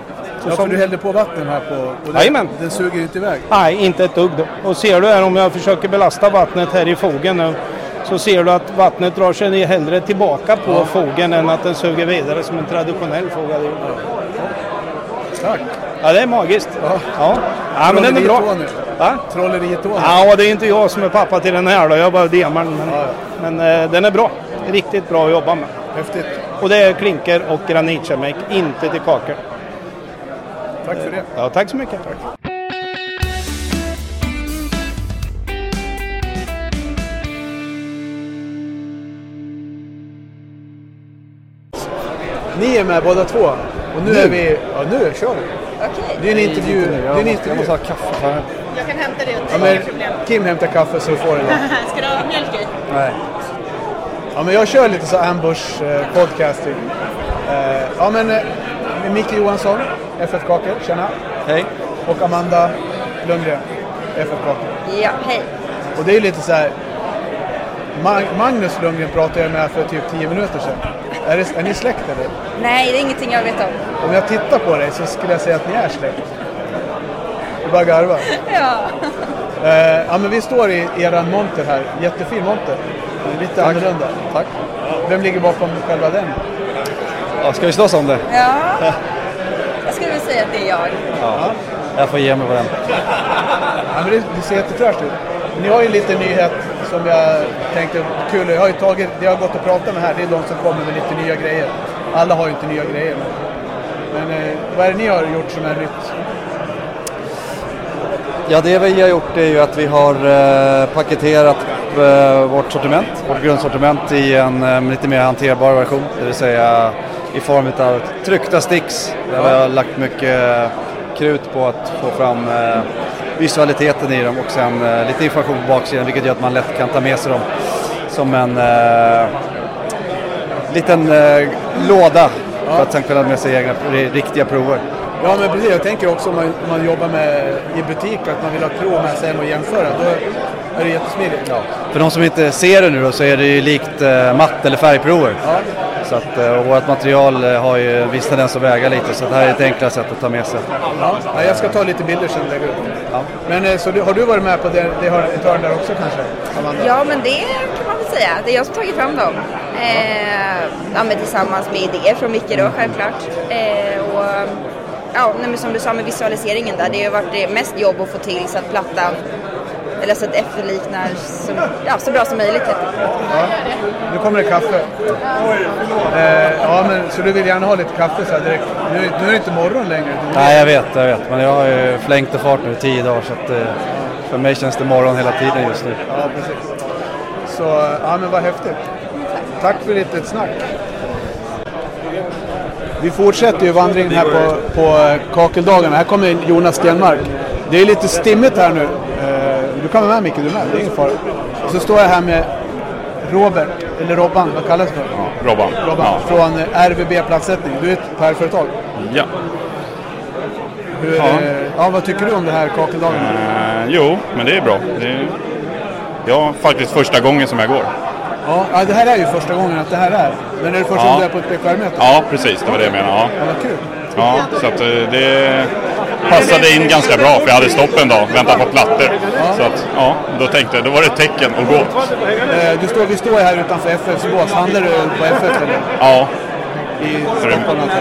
Speaker 2: Ja,
Speaker 13: Så
Speaker 2: för
Speaker 13: som-
Speaker 2: du hällde på vatten här på... på
Speaker 13: Jajamän.
Speaker 2: Den suger inte iväg.
Speaker 13: Nej, inte ett dugg. då. Och ser du här om jag försöker belasta vattnet här i fogen nu så ser du att vattnet drar sig ner hellre tillbaka på
Speaker 2: Ja.
Speaker 13: fogen än att den suger vidare som en traditionell fog hade gjort.
Speaker 2: Tack!
Speaker 13: Ja, det är magiskt. Ja, ja. men den är bra. Va?
Speaker 2: Trolleriet då?
Speaker 13: Ja, det är inte jag som är pappa till den här då. Jag bara demar den. Men, men eh, den är bra. Riktigt bra att jobba med.
Speaker 2: Häftigt.
Speaker 13: Och det är klinker och granitkeramik, inte till kakor.
Speaker 2: Tack för det.
Speaker 13: Ja, tack så mycket.
Speaker 2: Ni är med båda två. Och nu,
Speaker 13: Nu?
Speaker 2: är vi... Ja, nu kör vi. Det är en intervju. Det är en intervju. Jag måste ha kaffe här.
Speaker 10: Jag kan hämta det,
Speaker 2: Ja, men Kim hämtar kaffe så vi får det då.
Speaker 10: Ska du ha mjölk i?
Speaker 2: Nej. Ja, men jag kör lite så ambush eh, podcasting. Eh, ja, men eh, med Micke Johansson, FF Kakel, tjena.
Speaker 14: Hej.
Speaker 2: Och Amanda Lundgren, FF Kakel.
Speaker 14: Ja, hej.
Speaker 2: Och det är ju lite så här. Mag- Magnus Lundgren pratade jag med för typ 10 minuter sedan. Är, det, är ni släkt eller?
Speaker 14: Nej, det är ingenting jag vet om.
Speaker 2: Om jag tittar på dig så skulle jag säga att ni är släkt. Du bara garvar.
Speaker 14: Ja.
Speaker 2: Eh, ja, men vi står i era monter här. Jättefin monter. Lite annorlunda. Tack. Vem ligger bakom själva den?
Speaker 14: Ja,
Speaker 15: ska vi slåss om det?
Speaker 14: Ja. Jag skulle väl säga att det är jag.
Speaker 15: Ja. Jag får ge mig på den.
Speaker 2: Ja, men det, det ser jättefräscht ut. Ni har ju lite nyhet som jag tänkte, kul, jag har ju tagit, det jag har gått och pratat med här, det är de som kommer med lite nya grejer. Alla har ju inte nya grejer. Men, men eh, vad är det ni har gjort som är nytt?
Speaker 15: Ja, det vi har gjort är ju att vi har eh, paketerat upp eh, vårt sortiment, vårt grundsortiment i en eh, lite mer hanterbar version. Det vill säga i form av tryckta sticks där vi har lagt mycket eh, krut på att få fram eh, visualiteten i dem och sen eh, lite information på baksidan vilket gör att man lätt kan ta med sig dem som en eh, liten eh, låda för att sen kunna ha med sig egna riktiga prover.
Speaker 2: Ja men precis, jag tänker också om man, om man jobbar med, i butik att man vill ha prov med sig hem och jämföra. Då är det jättesmidigt.
Speaker 15: För de som inte ser det nu då, så är det ju likt eh, matt eller färgprover.
Speaker 2: Ja.
Speaker 15: Så att, eh, och vårt material eh, har ju en viss tendens att väga lite så det här är ett enklare sätt att ta med sig.
Speaker 2: Ja. Ja, jag ska ta lite bilder sen och lägga ut. Men eh, så du, har du varit med på det, det hör, ett hörn där också kanske? Amanda?
Speaker 14: Ja, men det kan man väl säga. Det är jag som tagit fram dem. Eh, ja, men tillsammans med idéer från Micke då, självklart. Eh, och, ja, nej, men som du sa med visualiseringen där, det har ju varit det mest jobb att få till så att plattan eller så att det efterliknar så, ja, så bra som möjligt. helt enkelt.
Speaker 2: Nu kommer det kaffe. Eh, ja, men, så du vill gärna ha lite kaffe så här direkt? Nu, nu är det inte morgon längre.
Speaker 15: Nej, jag vet, jag vet. Men jag har ju flängt och fart nu i tio dagar så att, eh, för mig känns det morgon hela tiden just nu.
Speaker 2: Ja, precis. Så, ja men vad häftigt. Tack för ditt snack. Vi fortsätter ju vandringen här på, på kakeldagarna. Här kommer Jonas Stenmark. Det är lite stimmigt här nu. Eh, Du kan vara med Micke, du är med. Det är ingen fara. Och så står jag här med Robert, eller Robban, vad kallas det för?
Speaker 16: Robban.
Speaker 2: Robban,
Speaker 16: Ja.
Speaker 2: från eh, RBB Plattsättning. Du är ett pärlföretag.
Speaker 16: Ja.
Speaker 2: Hur,
Speaker 16: Ja.
Speaker 2: ja. ja, vad tycker du om det här kakeldagen?
Speaker 16: Eh, jo, men det är bra. Det är ja, faktiskt första gången som jag går.
Speaker 2: Ja, ja, det här är ju första gången att det här är. Men är det första
Speaker 16: Ja.
Speaker 2: gången du är på ett PKR-möte?
Speaker 16: Ja, precis. Det var det jag menade. Ja.
Speaker 2: Ja, vad kul.
Speaker 16: Ja, så att eh, det passade in ganska bra för jag hade stopp en dag och väntade på plattor. Så att, ja, då tänkte jag, då var det ett tecken att gå.
Speaker 2: Eh, Du står, vi står här utanför FFs bås. Handlar du på FF eller?
Speaker 16: Ja.
Speaker 2: I alltså?
Speaker 16: För det,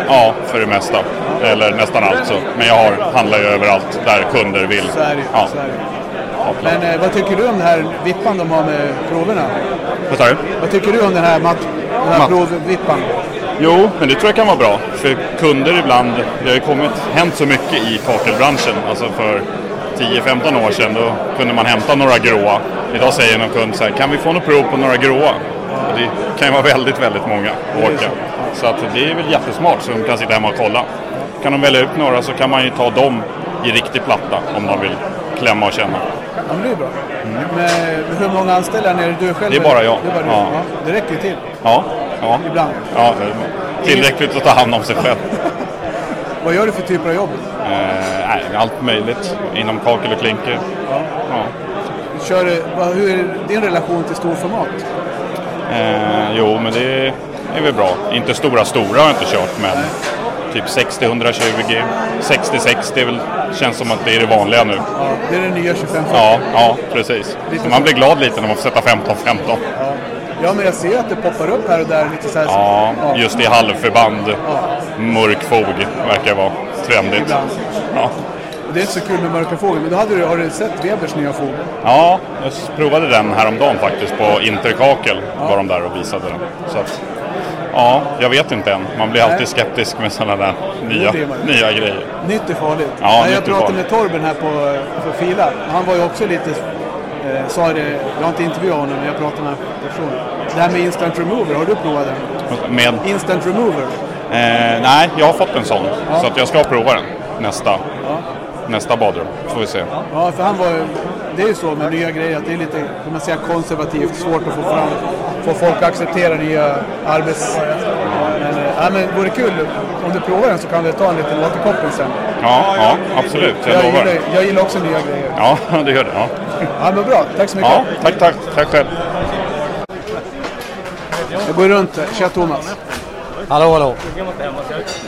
Speaker 16: ja, för det mesta. Eller nästan allt. Så. Men jag har, handlar ju överallt där kunder vill.
Speaker 2: Så är det ju,
Speaker 16: Ja.
Speaker 2: så är det ju. Men eh, vad tycker du om den här vippan de har med proverna?
Speaker 16: Vad sa du?
Speaker 2: Vad tycker du om den här, mat, den här provvippan?
Speaker 16: Mm. Jo, men det tror jag kan vara bra. För kunder ibland, det har ju kommit, hänt så mycket i kakelbranschen. Alltså för 10-15 år sedan då kunde man hämta några gråa. Idag säger någon kund så här, kan vi få något prov på några gråa? Och det kan ju vara väldigt, väldigt många att orka. Så att det är väl jättesmart så de kan sitta hemma och kolla. Kan de välja ut några så kan man ju ta dem i riktig platta om de vill klämma och känna.
Speaker 2: Ja, men det är bra. Men eh, hur många anställda är det? Är det du själv?
Speaker 16: Det är bara
Speaker 2: eller?
Speaker 16: jag.
Speaker 2: Det, är bara du.
Speaker 16: Ja.
Speaker 2: Ja. det räcker ju till.
Speaker 16: Ja, ja.
Speaker 2: Ibland.
Speaker 16: Ja, tillräckligt att ta hand om sig själv.
Speaker 2: Vad gör du för typer av jobb?
Speaker 16: Eh, nej, allt möjligt inom kakel och klinker. Ja.
Speaker 2: Kör, du- vad, hur är din relation till storformat?
Speaker 16: Eh, jo, men det är väl bra. Inte stora, stora har jag inte kört, men typ 60-120, 60-60 är väl, känns som att det är det vanliga nu.
Speaker 2: Ja, det är den nya 25
Speaker 16: Ja, ja precis. Så man blir glad lite när man får sätta 15-15.
Speaker 2: ja, men jag ser att det poppar upp här och där lite så här.
Speaker 16: Ja, just i halvförband. Mörk fog verkar vara trendigt.
Speaker 2: Ibland.
Speaker 16: Ja.
Speaker 2: Och Det är inte så kul med mörka fåglar, men då hade du, har du sett Webers nya fågel?
Speaker 16: Ja, jag provade den häromdagen faktiskt på Interkakel var de där och visade den. Så att, ja, jag vet inte än. Man blir
Speaker 2: Nej.
Speaker 16: alltid skeptisk med sådana där nya,
Speaker 2: det är man.
Speaker 16: nya grejer.
Speaker 2: Nytt är farligt.
Speaker 16: Ja,
Speaker 2: Nej,
Speaker 16: nytt
Speaker 2: jag pratade
Speaker 16: är farligt.
Speaker 2: med Torben här på, på Fila. Han var ju också lite... Eh, sa det, jag har inte intervjuat honom, men jag pratade med en person. Det här med instant remover, har du provat den?
Speaker 16: Med,
Speaker 2: Instant remover.
Speaker 16: eh, nej, jag har fått en sån.
Speaker 2: Ja.
Speaker 16: Så att jag ska prova den nästa, nästa badrum. Får vi se.
Speaker 2: Ja, för han var ju- Det är ju så med nya grejer att det är lite, kan man säga, konservativt. Svårt att få fram, få folk att acceptera nya arbets... Men, eh, ja, men vore kul om du provar den så kan vi ta en liten återkoppling sen.
Speaker 16: Ja, ja absolut. Jag lovar.
Speaker 2: gillar, jag gillar också nya grejer.
Speaker 16: Ja, det gör det. Ja.
Speaker 2: Ja, men bra. Tack så mycket.
Speaker 16: Ja, tack, tack. Tack själv.
Speaker 2: Jag går runt här. Tja Thomas.
Speaker 15: Hallå, hallå.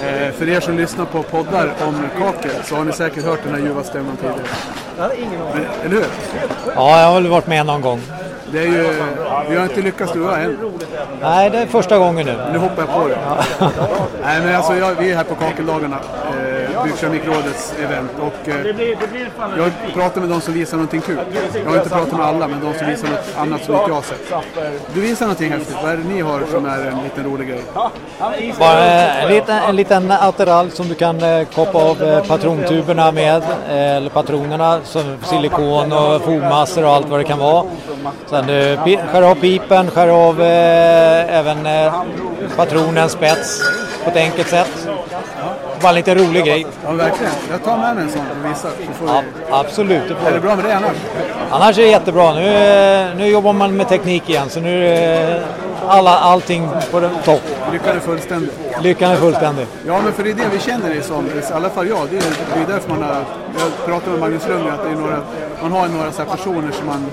Speaker 2: Eh, för er som lyssnar på poddar om kakel så har ni säkert hört den här ljuva stämman tidigare. Men, eller hur?
Speaker 17: Ja, jag har väl varit med någon gång.
Speaker 2: Det är ju, vi har inte lyckats lura än.
Speaker 17: Nej, det är första gången nu.
Speaker 2: Nu hoppar jag på det. Nej, men alltså, jag, vi är här på kakeldagarna. Eh, eh, Byggkemikrådets event. Och, eh, jag har pratat med de som visar någonting kul. Jag har inte pratat med alla, men de som visar något annat som inte jag har sett. Du visar någonting häftigt. Vad är det ni har som är en liten rolig grej?
Speaker 17: Bara en liten, en liten attiralj som du kan eh, koppa av eh, patrontuberna med, eh, eller patronerna, som silikon och fogmassor och allt vad det kan vara. Sen du pi- skär av pipen, skär av eh, även eh, patronens spets på ett enkelt sätt. Bara en liten rolig grej.
Speaker 2: Ja, verkligen. Jag tar med mig en sån och visar. Så får vi...
Speaker 17: Absolut. det får
Speaker 2: Är
Speaker 17: du.
Speaker 2: det bra med det annars?
Speaker 17: Annars är det jättebra. Nu, eh, nu jobbar man med teknik igen så nu är eh, alla, allting på den- topp.
Speaker 2: Lyckan är fullständig.
Speaker 17: Lyckan är fullständig.
Speaker 2: Ja, men för det är det vi känner dig som. I alla fall jag. Det är, det är därför man har... Jag pratade med Magnus Lundgren att det är några, man har några så här personer som man...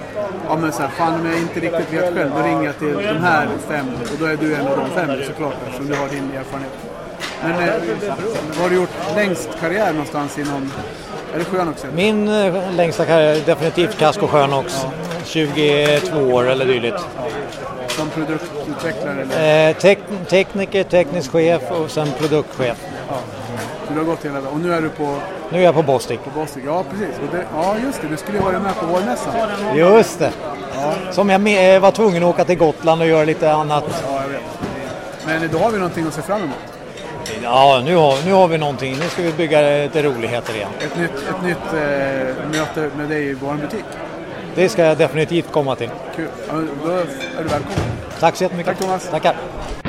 Speaker 2: Ja, men så här, fan om jag inte riktigt vet själv, då ringer jag till de här fem. Och då är du en av de fem såklart, eftersom du har din erfarenhet. Men eh, vad har du gjort längst karriär någonstans inom... Är det Sjönox? eller?
Speaker 17: Min eh, längsta karriär är definitivt Casco Sjönox. 22 år eller dylikt.
Speaker 2: Som produktutvecklare? Eller?
Speaker 17: Eh, tek- tekniker, teknisk chef och sen produktchef.
Speaker 2: Ja. Så du har gått hela vägen. Och nu är du på...
Speaker 17: Nu är jag på Bostik.
Speaker 2: På Bostik, ja precis. Och det, ja just det, du skulle ju vara med på vårmässan.
Speaker 17: Just det! Som jag me- eh, var tvungen att åka till Gotland och göra lite annat.
Speaker 2: Ja, jag vet. Men idag har vi någonting att se fram emot.
Speaker 17: Ja, nu har, nu har vi någonting. Nu ska vi bygga lite roligheter igen.
Speaker 2: Ett nytt, ett nytt eh, möte med dig i vår butik.
Speaker 17: Det ska jag definitivt komma till.
Speaker 2: Kul. Ja, Då är du välkommen.
Speaker 17: Tack så jättemycket.
Speaker 2: Tack Thomas.
Speaker 17: Tackar.